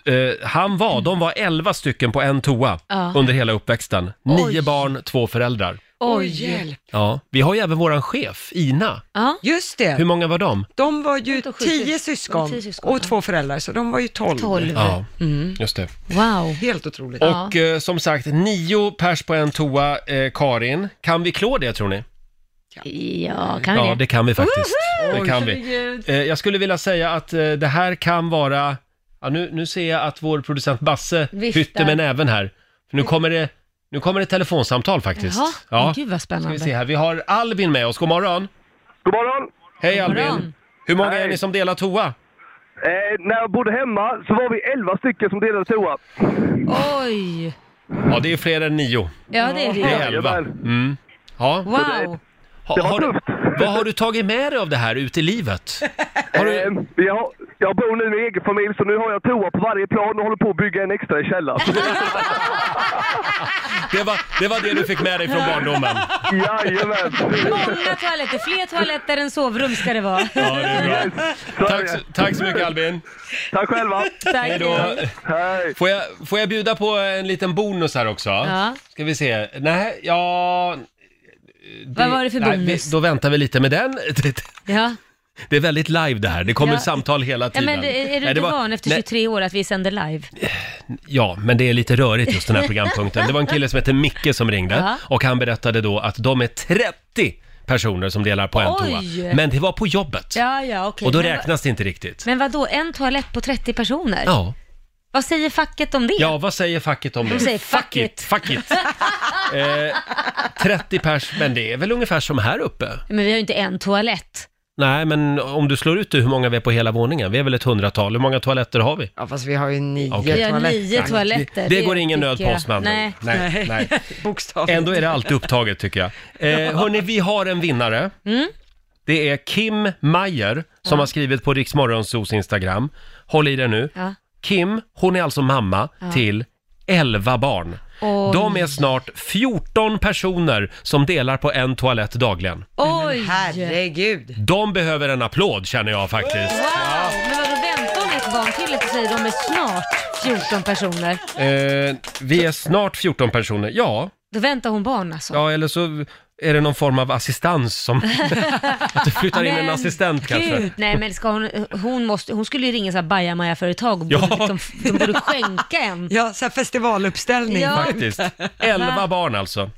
Speaker 1: Eh, han var, de var 11 stycken på en toa
Speaker 2: Ja.
Speaker 1: under hela uppväxten. Nio barn, två föräldrar.
Speaker 3: Oj, hjälp.
Speaker 1: Ja, vi har ju även våran chef, Ina.
Speaker 2: Ja.
Speaker 3: Just
Speaker 1: Hur
Speaker 3: det.
Speaker 1: många var de?
Speaker 3: De var ju
Speaker 2: Runt och sju
Speaker 3: tio
Speaker 2: sys-
Speaker 3: syskon,
Speaker 2: tio syskon,
Speaker 3: och
Speaker 2: ja.
Speaker 3: två föräldrar, så de var ju tolv. Mm.
Speaker 2: 12.
Speaker 1: Ja, just det.
Speaker 2: Wow.
Speaker 3: Helt otroligt.
Speaker 2: Ja.
Speaker 1: Och eh, som sagt, nio pers på en toa, eh, Karin. Kan vi klå det tror ni?
Speaker 2: Ja, kan vi
Speaker 1: Ja,
Speaker 2: det?
Speaker 1: det kan vi faktiskt. Det kan vi.
Speaker 2: Herregud.
Speaker 1: Eh, Jag skulle vilja säga att eh, det här kan vara... Ja, nu, nu ser jag att vår producent Basse
Speaker 2: Viftar.
Speaker 1: hytter med näven här. För nu kommer det, nu kommer det telefonsamtal faktiskt.
Speaker 2: Jaha,
Speaker 1: ja.
Speaker 2: ja. gud vad
Speaker 1: Ska vi
Speaker 2: spännande.
Speaker 1: se här. Vi har Albin med oss. God morgon!
Speaker 8: God morgon!
Speaker 1: Hej
Speaker 2: God morgon.
Speaker 1: Albin! Hur många är
Speaker 8: Hej.
Speaker 1: ni som delar toa?
Speaker 8: Eh, när jag bodde hemma så var vi 11 stycken som delade toa.
Speaker 2: Oj!
Speaker 1: Ja, det är fler än nio.
Speaker 2: Ja, det är det
Speaker 1: Det
Speaker 2: ju.
Speaker 1: är elva.
Speaker 8: Jajamän.
Speaker 1: Mm. Ja.
Speaker 2: Wow!
Speaker 1: Ha,
Speaker 8: Det var
Speaker 1: har du,
Speaker 8: tufft.
Speaker 1: vad har du tagit med dig av det här ut i livet? Har
Speaker 8: Eh,
Speaker 1: du,
Speaker 8: jag, jag bor nu med egen familj så nu har jag toa på varje plan och håller på att bygga en extra i källaren.
Speaker 1: det, var, det var det du fick med dig från barndomen.
Speaker 8: Jajamän!
Speaker 2: Många toaletter, fler toaletter än sovrum ska det vara.
Speaker 1: Ja, det är bra.
Speaker 8: Så är
Speaker 1: Tack,
Speaker 8: det.
Speaker 1: så- tack så mycket Albin.
Speaker 8: Tack själva!
Speaker 1: Hej
Speaker 2: Tack.
Speaker 1: då.
Speaker 8: Hej!
Speaker 1: Får jag, får jag bjuda på en liten bonus här också?
Speaker 2: Ja.
Speaker 1: Ska vi se. Nej, ja...
Speaker 2: Vad var det för
Speaker 1: nej,
Speaker 2: bonus?
Speaker 1: vi- då väntar vi lite med den. Det,
Speaker 2: Ja.
Speaker 1: det är väldigt live det här. Det kommer
Speaker 2: Ja.
Speaker 1: samtal hela
Speaker 2: Ja,
Speaker 1: tiden.
Speaker 2: men det- är du
Speaker 1: Nej,
Speaker 2: inte
Speaker 1: det var-
Speaker 2: van efter
Speaker 1: nej,
Speaker 2: 23 år att vi sänder live?
Speaker 1: Ja, men det är lite rörigt just den här programpunkten. Det var en kille som hette Micke som ringde
Speaker 2: Ja.
Speaker 1: och han berättade då att de är 30 personer som delar på en
Speaker 2: Oj.
Speaker 1: toa. Men det var på jobbet
Speaker 2: Ja, ja, okej.
Speaker 1: och då
Speaker 2: Men vad-
Speaker 1: räknas det inte riktigt.
Speaker 2: Men vad då en toalett på 30 personer?
Speaker 1: Ja.
Speaker 2: Vad säger facket om det?
Speaker 1: Ja, vad säger facket om det?
Speaker 2: De säger fuck it.
Speaker 1: Fuck it. eh, 30 pers, men det är väl ungefär som här uppe?
Speaker 2: Men vi har ju inte en toalett.
Speaker 1: Nej, men om du slår ut det, hur många vi är på hela våningen, vi är väl ett hundratal. Hur många toaletter har vi?
Speaker 3: Ja, fast vi har ju nio
Speaker 1: Okej.
Speaker 2: Vi har
Speaker 3: toaletter.
Speaker 2: nio toaletter.
Speaker 1: Det, går ingen nöd på
Speaker 2: tycker jag.
Speaker 1: oss med andra
Speaker 2: Nej.
Speaker 1: ord. nej, nej.
Speaker 3: Bokstavligt.
Speaker 1: Ändå är det alltid upptaget tycker jag. Eh, hörni, vi har en vinnare.
Speaker 2: Mm.
Speaker 1: Det är Kim Mayer som har skrivit på Riksmorgonsos Instagram. Håll i det nu.
Speaker 2: Ja.
Speaker 1: Kim, hon är alltså mamma till 11 barn.
Speaker 2: Oj.
Speaker 1: De är snart 14 personer som delar på en toalett dagligen.
Speaker 2: Oj!
Speaker 3: Herregud.
Speaker 1: De behöver en applåd känner jag faktiskt.
Speaker 2: Wow! Men vadå, väntar hon ett barn till och så säger de är snart 14 personer?
Speaker 1: Eh, vi är snart 14 personer. Ja,
Speaker 2: Då väntar hon barn alltså?
Speaker 1: ja, eller så är det någon form av assistans som... att du flyttar in en
Speaker 2: Men
Speaker 1: assistent kanske.
Speaker 2: Gud, nej men ska hon, hon, måste, hon skulle ju ringa så här bajamaja-företag och
Speaker 1: Ja.
Speaker 2: borde, de, de borde skänka en.
Speaker 3: Ja, så här festivaluppställning.
Speaker 2: Ja.
Speaker 1: Faktiskt. 11 barn alltså.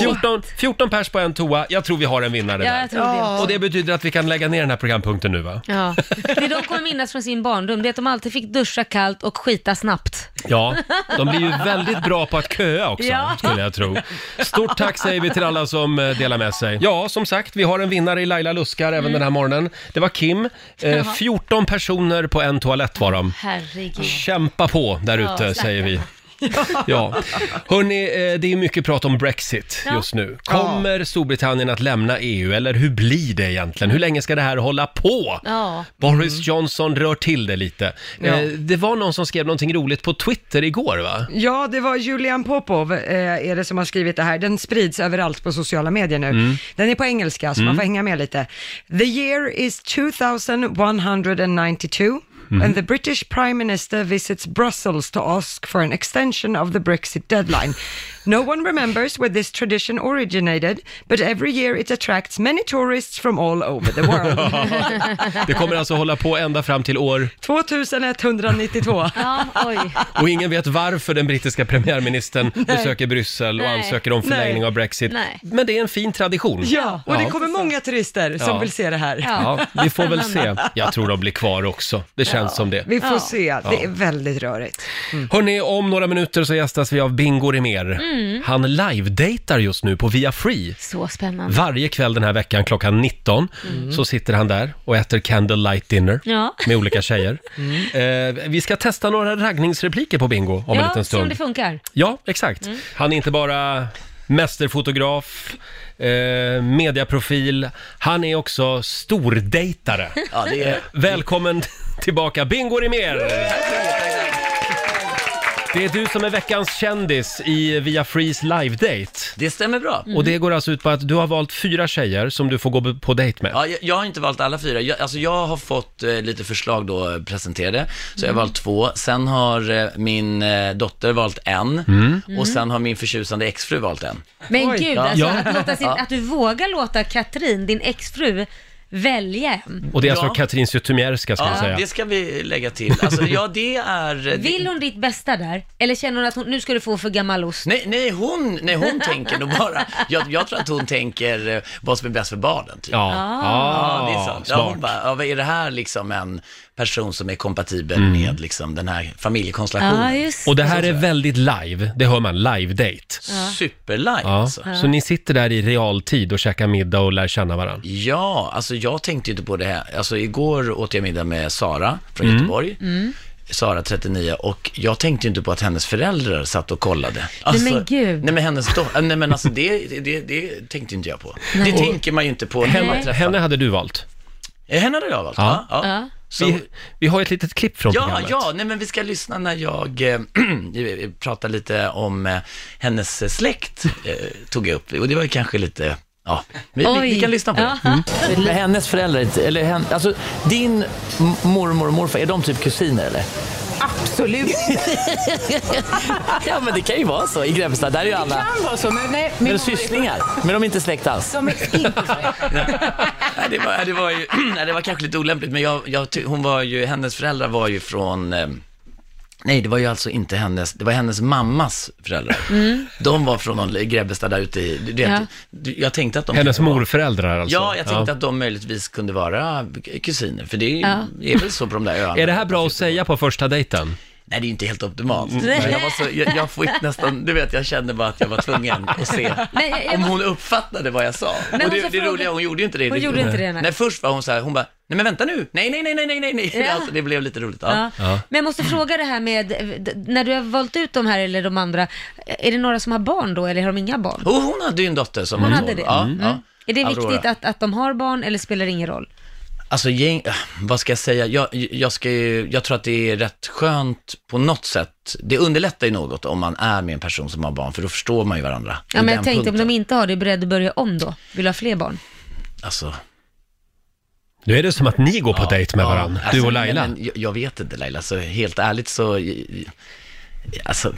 Speaker 1: 14, 14 pers på en toa. Jag tror vi har en vinnare
Speaker 2: Ja, jag
Speaker 1: där.
Speaker 2: tror det.
Speaker 1: Och det betyder att vi kan lägga ner den här programpunkten nu va?
Speaker 2: Ja. Det de kommer minnas från sin barndom, det är att de alltid fick duscha kallt och skita snabbt.
Speaker 1: Ja, de blir ju väldigt bra på att köa också,
Speaker 2: Ja.
Speaker 1: skulle jag tro. Stort tack säger vi till alla som eh, delar med sig. Ja, som sagt, vi har en vinnare i Laila Luskar även
Speaker 2: Mm.
Speaker 1: den här morgonen. Det var Kim. Eh, 14 personer på en toalett var de.
Speaker 2: Herregud.
Speaker 1: Kämpa på där ute,
Speaker 2: Ja,
Speaker 1: säger vi. Ja. Hörni, eh, det är mycket prat om Brexit
Speaker 2: Ja.
Speaker 1: just nu. Kommer Storbritannien att lämna EU eller hur blir det egentligen? Hur länge ska det här hålla på?
Speaker 2: Ja. Mm.
Speaker 1: Boris Johnson rör till det lite.
Speaker 3: Ja.
Speaker 1: Eh, det var någon som skrev någonting roligt på Twitter igår va?
Speaker 3: Ja, det var Julian Popov eh, är det som har skrivit det här. Den sprids överallt på sociala medier nu.
Speaker 1: Mm.
Speaker 3: Den är på engelska, så man får hänga med lite. The year is 2192
Speaker 1: Mm.
Speaker 3: and the British Prime Minister visits Brussels to ask for an extension of the Brexit deadline. No one remembers where this tradition originated, but every year it attracts many tourists from all over the world.
Speaker 1: Det kommer alltså hålla på ända fram till år
Speaker 3: 2192.
Speaker 2: Ja, oj.
Speaker 1: och ingen vet varför den brittiska premiärministern besöker Bryssel och
Speaker 2: Nej.
Speaker 1: ansöker om förlängning
Speaker 3: Nej.
Speaker 1: av Brexit.
Speaker 2: Nej.
Speaker 1: Men det är en fin tradition.
Speaker 3: Ja, och det
Speaker 1: Ja.
Speaker 3: kommer många turister som
Speaker 1: Ja.
Speaker 3: vill se det här.
Speaker 1: Ja, vi får väl se. Jag tror de blir kvar också. Det känns som det.
Speaker 3: Vi får
Speaker 2: Ja.
Speaker 3: se, det är väldigt rörigt.
Speaker 1: Hörni, om några minuter så gästas vi av Bingo Rimér.
Speaker 2: Mm.
Speaker 1: Han live-datar just nu på Via Free.
Speaker 2: Så spännande.
Speaker 1: Varje kväll den här veckan klockan 19 så sitter han där och äter candlelight dinner
Speaker 2: Mm. Ja. Mm.
Speaker 1: med olika tjejer. Eh, vi ska testa några raggningsrepliker på Bingo om en
Speaker 2: ja,
Speaker 1: liten
Speaker 2: se om
Speaker 1: stund.
Speaker 2: det funkar.
Speaker 1: Ja, exakt.
Speaker 9: Mm.
Speaker 1: Han är inte bara mästerfotograf, eh, mediaprofil, han är också stordejtare.
Speaker 9: Ja, det är...
Speaker 1: Välkommen tillbaka, Bingo Rimér! Det är du som är veckans kändis i Via Frees live-date.
Speaker 9: Det stämmer bra.
Speaker 1: Och det går alltså ut på att du har valt fyra tjejer som du får gå på dejt med.
Speaker 9: Ja, jag, jag har inte valt alla fyra. Jag, alltså jag har fått eh, lite förslag då eh, presenterade, så jag har valt två. Sen har eh, min eh, dotter valt en
Speaker 1: Mm.
Speaker 9: och sen har min förtjusande exfru valt en.
Speaker 2: Men gud, alltså,
Speaker 1: Ja.
Speaker 2: Att, låta sin, att du vågar låta Katrin, din exfru, välja en.
Speaker 1: Och det är alltså
Speaker 9: Ja.
Speaker 1: Katrin Zytomierska ska jag
Speaker 9: Ja,
Speaker 1: säga.
Speaker 9: det ska vi lägga till. Alltså, ja, det är... eh,
Speaker 2: Vill hon ditt bästa där? Eller känner hon att hon, nu ska du få för gammal ost?
Speaker 9: Nej, nej, hon, nej, hon tänker nog bara... Jag, jag tror att hon tänker eh, vad som är bäst för barnen, typ.
Speaker 1: Ja,
Speaker 9: Ja, det är sant. Ja,
Speaker 1: smart.
Speaker 9: hon bara, ja, vad är det här liksom en person som är kompatibel
Speaker 1: Mm.
Speaker 9: med liksom den här familjekonstellationen?
Speaker 2: Ja, just
Speaker 1: Och det här är väldigt live, det hör man, live-date.
Speaker 9: Superlive
Speaker 1: Ja.
Speaker 9: alltså.
Speaker 1: Så ni sitter där i realtid och käkar middag och lär känna varandra.
Speaker 9: Ja, alltså jag tänkte ju inte på det här. Alltså igår åt jag middag med Sara från
Speaker 2: Mm.
Speaker 9: Göteborg. Sara 39 och jag tänkte ju inte på att hennes föräldrar satt och kollade. Alltså,
Speaker 2: men gud.
Speaker 9: Nej men hennes dotter, nej men alltså det, det- det, det tänkte inte jag på. Det tänker man ju inte på när man
Speaker 1: Henne,
Speaker 9: träffar.
Speaker 1: henne
Speaker 9: Henne,
Speaker 1: hade du valt.
Speaker 9: henne hade jag valt.
Speaker 1: Ja.
Speaker 9: Ja. Ja.
Speaker 2: Ja.
Speaker 9: Så,
Speaker 1: Vi, vi har ett litet klipp från
Speaker 9: ja,
Speaker 1: programmet.
Speaker 9: ja, nej men vi ska lyssna när jag eh, pratar lite om eh, hennes släkt, eh, tog jag upp. Och det var ju kanske lite, ja, vi, vi, vi
Speaker 2: Oj.
Speaker 9: kan lyssna på det. Mm.
Speaker 2: Ja.
Speaker 10: Med hennes föräldrar, eller hen, alltså din m- mormor och morfar, är de typ kusiner eller?
Speaker 11: Absolut.
Speaker 10: Ja men det kan ju vara så i Grebbestad, där är ju alla
Speaker 11: Han var så, men nej.
Speaker 10: men
Speaker 11: Min
Speaker 10: sysslingar, men de är inte släkt alls.
Speaker 11: som är inte
Speaker 9: Nej, det, var, det, var ju, nej, det var kanske lite olämpligt, men jag, jag, ty- hon var ju, hennes föräldrar var ju från... eh, Nej, det var ju alltså inte hennes, det var hennes mammas föräldrar. De var från någon Grebbestad där ute i... Du, vet,
Speaker 2: Ja.
Speaker 9: du- jag tänkte att de...
Speaker 1: Hennes morföräldrar alltså.
Speaker 9: Ja, jag tänkte att de möjligtvis kunde vara kusiner, för det är, ju- är väl så på de där öarna.
Speaker 1: Är det här bra att säga på första dejten?
Speaker 9: Nej, det är ju inte helt optimalt. Men Jag, var så, jag, jag fick nästan, du vet, jag kände bara att jag var tvungen att se
Speaker 2: Men jag- jag
Speaker 9: om
Speaker 2: måste-
Speaker 9: hon uppfattade vad jag sa.
Speaker 2: Men
Speaker 9: och
Speaker 2: hon
Speaker 9: det,
Speaker 2: ska
Speaker 9: det
Speaker 2: fråga-
Speaker 9: roliga, hon gjorde ju inte det
Speaker 2: Hon
Speaker 9: riktigt.
Speaker 2: gjorde inte det, nej.
Speaker 9: nej. först var hon så här, hon bara, nej men vänta nu, nej, nej, nej, nej, nej, nej, nej.
Speaker 2: Ja.
Speaker 9: Alltså, det blev lite roligt. Ja.
Speaker 2: Ja. Men jag måste fråga det här med, d- när du har valt ut de här eller de andra, är det några som har barn då eller har de inga barn?
Speaker 9: Och hon hade ju en dotter som
Speaker 2: Hon
Speaker 9: var
Speaker 2: hade
Speaker 9: tolv.
Speaker 2: det?
Speaker 9: Ja,
Speaker 2: Mm.
Speaker 9: Oh, ja.
Speaker 2: Är det
Speaker 9: Aurora.
Speaker 2: viktigt att, att de har barn eller spelar det ingen roll?
Speaker 9: Alltså, gäng, äh, vad ska jag säga? Jag, jag, ska ju, jag tror att det är rätt skönt på något sätt. Det underlättar ju något om man är med en person som har barn, för då förstår man ju varandra.
Speaker 2: Ja, men jag
Speaker 9: Den
Speaker 2: tänkte om
Speaker 9: punkten.
Speaker 2: de inte har det, är du beredd att börja om då? Vill du ha fler barn?
Speaker 9: Alltså,
Speaker 1: Nu är det som att ni går på dejt med varandra,
Speaker 9: Ja,
Speaker 1: du
Speaker 9: alltså,
Speaker 1: och Laila.
Speaker 9: nej, men jag, jag vet inte Laila, så helt ärligt så, alltså,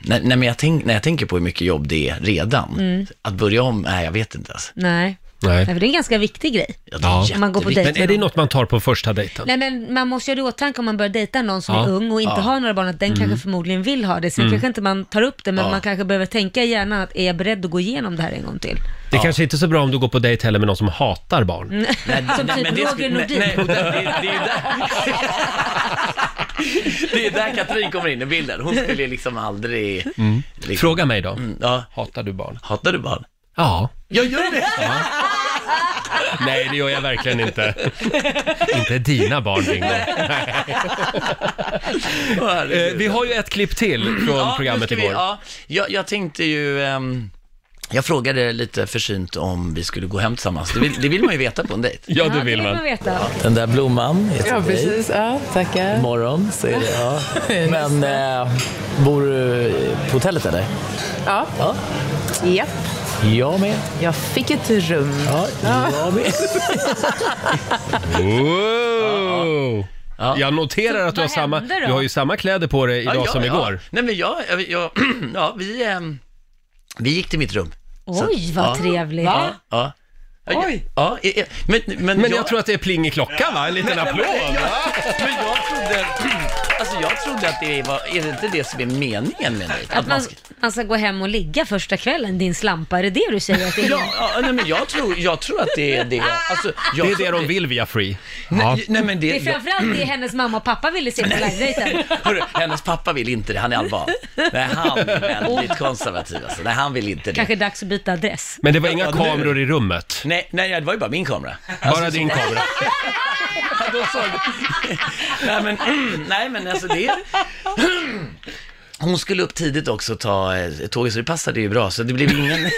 Speaker 9: nej, nej, men jag tänk, när jag tänker på hur mycket jobb det är redan,
Speaker 2: Mm.
Speaker 9: att börja om, nej jag vet inte alltså.
Speaker 2: Nej. Nej,
Speaker 1: Nej.
Speaker 2: för det är en ganska viktig grej.
Speaker 9: Jag tror
Speaker 1: Ja.
Speaker 9: jätte-
Speaker 2: Om man går på dejt
Speaker 1: Men är det något man tar på första dejten?
Speaker 2: Nej men man måste ju ha det i åtanke om man börjar dejta någon som
Speaker 1: Ja.
Speaker 2: är ung och inte har några barn, att den kanske förmodligen vill ha det. Sen kanske inte man tar upp det, men man kanske behöver tänka i hjärnan att är jag beredd att gå igenom det här en gång till?
Speaker 1: Det kanske inte är så bra om du går på dejt heller med någon som hatar barn.
Speaker 9: Mm.
Speaker 2: Som typ
Speaker 9: det
Speaker 2: Roger
Speaker 9: skulle-
Speaker 2: Nordin.
Speaker 9: Nej, nej, det, det, det är ju där... Det är där Katrin kommer in i bilden. Hon skulle ju liksom aldrig...
Speaker 1: Mm.
Speaker 9: Liksom,
Speaker 1: Fråga mig då.
Speaker 9: ja,
Speaker 1: Hatar du barn?
Speaker 9: hatar du barn?
Speaker 1: Ja.
Speaker 9: Jag gör det!
Speaker 1: Nej, det gör jag verkligen inte. inte dina barn, Bingo. Eh, Vi har ju ett klipp till från
Speaker 9: Ja, nu
Speaker 1: programmet
Speaker 9: ska vi-
Speaker 1: igår.
Speaker 9: Ja, jag, jag tänkte ju... ehm, jag frågade lite försynt om vi skulle gå hem tillsammans. Det vill, det vill man ju veta på en dejt.
Speaker 1: Ja,
Speaker 10: det
Speaker 2: vill man veta.
Speaker 10: Den där blomman är till
Speaker 11: Ja,
Speaker 10: dig.
Speaker 11: precis. Ja, tackar.
Speaker 10: Imorgon, säger det. Ja. Men eh, bor du på hotellet eller?
Speaker 11: Ja. Japp.
Speaker 10: Jag med.
Speaker 11: Jag fick ett rum. Ja,
Speaker 10: jag med.
Speaker 1: Wow. Jag noterar att du har, samma,
Speaker 9: hände då?
Speaker 1: du har ju samma kläder på dig idag
Speaker 9: ja, ja,
Speaker 1: som
Speaker 9: ja.
Speaker 1: igår.
Speaker 9: Nej, men jag... jag, jag ja, vi, ehm, vi gick till mitt
Speaker 11: Äh.
Speaker 9: rum. Så-
Speaker 2: Oj, vad
Speaker 9: ja.
Speaker 2: trevligt.
Speaker 9: Ja. ja. Oj! Ja, ja, ja, men, men,
Speaker 1: Men jag tror att det är pling i klockan va? En liten
Speaker 9: Nej,
Speaker 1: applåd.
Speaker 9: Men, men, jag, men jag trodde... Alltså jag trodde att det var... Är det inte det som är meningen med det?
Speaker 2: Att man, man ska gå hem och ligga första kvällen, din slampa, är det det du säger att det är?
Speaker 9: Ja, ja nej, men jag tror, jag tror att det är det. Alltså, jag
Speaker 1: Det är
Speaker 9: tror
Speaker 1: det de vill via Free.
Speaker 9: Nej, nej, men
Speaker 2: Det
Speaker 9: det,
Speaker 2: är framförallt det hennes mamma och pappa ville se på live-dejten.
Speaker 9: Hörru, hennes pappa vill inte det, han är alban. Nej, han är väldigt konservativ alltså. Nej, han vill inte det.
Speaker 2: Kanske dags att byta adress.
Speaker 1: Men det var inga
Speaker 9: Ja, nu- Alltså,
Speaker 1: kameror i rummet.
Speaker 9: Nej, nej, det var ju bara min kamera.
Speaker 1: Bara din kamera.
Speaker 9: Nej, men, nej, men alltså det... Hon skulle upp tidigt också och ta eh, tåget, så det passade ju bra, så det blev ingen...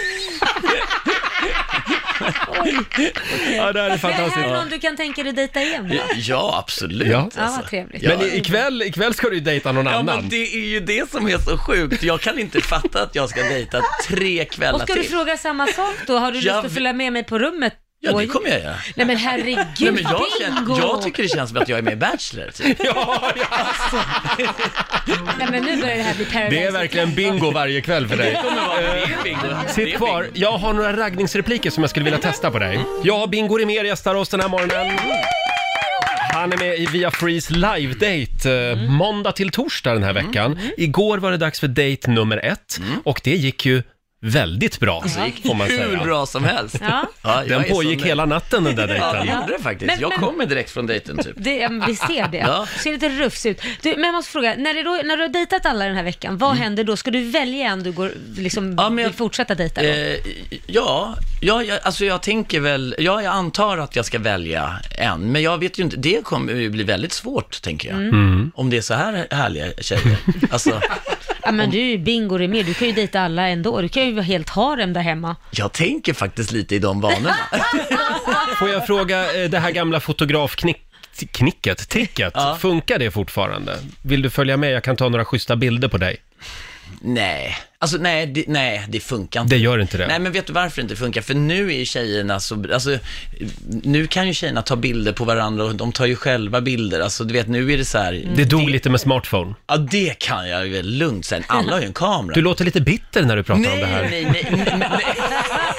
Speaker 1: Ja, det här är
Speaker 2: Det här är någon du kan tänka dig dejta igen va?
Speaker 9: Ja, absolut.
Speaker 1: Ja.
Speaker 9: alltså.
Speaker 2: Ja, vad trevligt.
Speaker 1: Men i- ikväll, ikväll ska du ju dejta någon
Speaker 9: Ja,
Speaker 1: annan.
Speaker 9: men det är ju det som är så sjukt. Jag kan inte fatta att jag ska dejta tre
Speaker 2: Och
Speaker 9: kvällar
Speaker 2: ska du
Speaker 9: till.
Speaker 2: fråga samma sak då? Har du
Speaker 9: Jag
Speaker 2: lust att
Speaker 9: vet-
Speaker 2: följa med mig på rummet?
Speaker 9: Ja, det
Speaker 2: Oj.
Speaker 9: kommer jag göra.
Speaker 2: Nej men herregud,
Speaker 9: Nej, men jag,
Speaker 2: bingo!
Speaker 9: känner, jag tycker det känns som att jag är med i Bachelor, typ.
Speaker 2: Nej men nu börjar det här bli paradise.
Speaker 1: Det är verkligen bingo varje kväll för dig.
Speaker 9: Det kommer vara det är bingo.
Speaker 1: Sitt Typ kvar. Jag har några raggningsrepliker som jag skulle vilja testa på dig. Ja, Bingo Rimér gästar oss den här morgonen. Han är med i Via Frees live-date eh,
Speaker 9: Mm.
Speaker 1: måndag till torsdag den här veckan. Igår var det dags för date nummer ett och det gick ju väldigt bra,
Speaker 9: Alltså, Mm. det gick
Speaker 1: får man
Speaker 9: hur
Speaker 1: säga.
Speaker 9: bra som helst.
Speaker 2: Ja.
Speaker 9: Ja, jag
Speaker 1: Den
Speaker 9: är så
Speaker 1: pågick
Speaker 9: nöjd.
Speaker 1: hela natten den där
Speaker 9: Ja,
Speaker 1: dejten.
Speaker 9: det gjorde det faktiskt.
Speaker 2: Men-
Speaker 9: jag
Speaker 2: men-
Speaker 9: kommer direkt från dejten, typ.
Speaker 2: Det, ja, men vi ser det.
Speaker 9: Ja.
Speaker 2: Ser lite rufs ut. Du, men jag måste fråga, när, det då, när du har dejtat alla den här veckan, vad
Speaker 9: Mm.
Speaker 2: händer då? Ska du välja en du går, liksom, vill fortsätta dejta? Då?
Speaker 9: Eh, ja, ja, ja, alltså jag tänker väl, ja, jag antar att jag ska välja en, men jag vet ju inte, det kommer ju bli väldigt svårt, tänker jag.
Speaker 2: Mm. Mm.
Speaker 9: Om det är så här härliga tjejer. Alltså,
Speaker 2: ja, men du är ju bingo det med. du kan ju dejta alla ändå. Du kan ju helt ha dem där hemma.
Speaker 9: jag tänker faktiskt lite i de banorna.
Speaker 1: Får jag fråga, eh, det här gamla fotografknicket, tricket, funkar det fortfarande? Vill du följa med? Jag kan ta några schyssta bilder på dig.
Speaker 9: Nej, alltså nej, det, nej, det funkar inte.
Speaker 1: Det gör inte det.
Speaker 9: Nej, men vet du varför det inte funkar? För nu är ju tjejerna så, alltså, nu kan ju tjejerna ta bilder på varandra och de tar ju själva bilder. Alltså, du vet, nu är det så här...
Speaker 1: Det
Speaker 9: Mm.
Speaker 1: dog lite med smartphone.
Speaker 9: Ja, det kan jag ju lugnt säga. Alla har ju en kamera.
Speaker 1: Du låter lite bitter när du pratar om
Speaker 9: nej,
Speaker 1: det här.
Speaker 9: nej, nej, nej,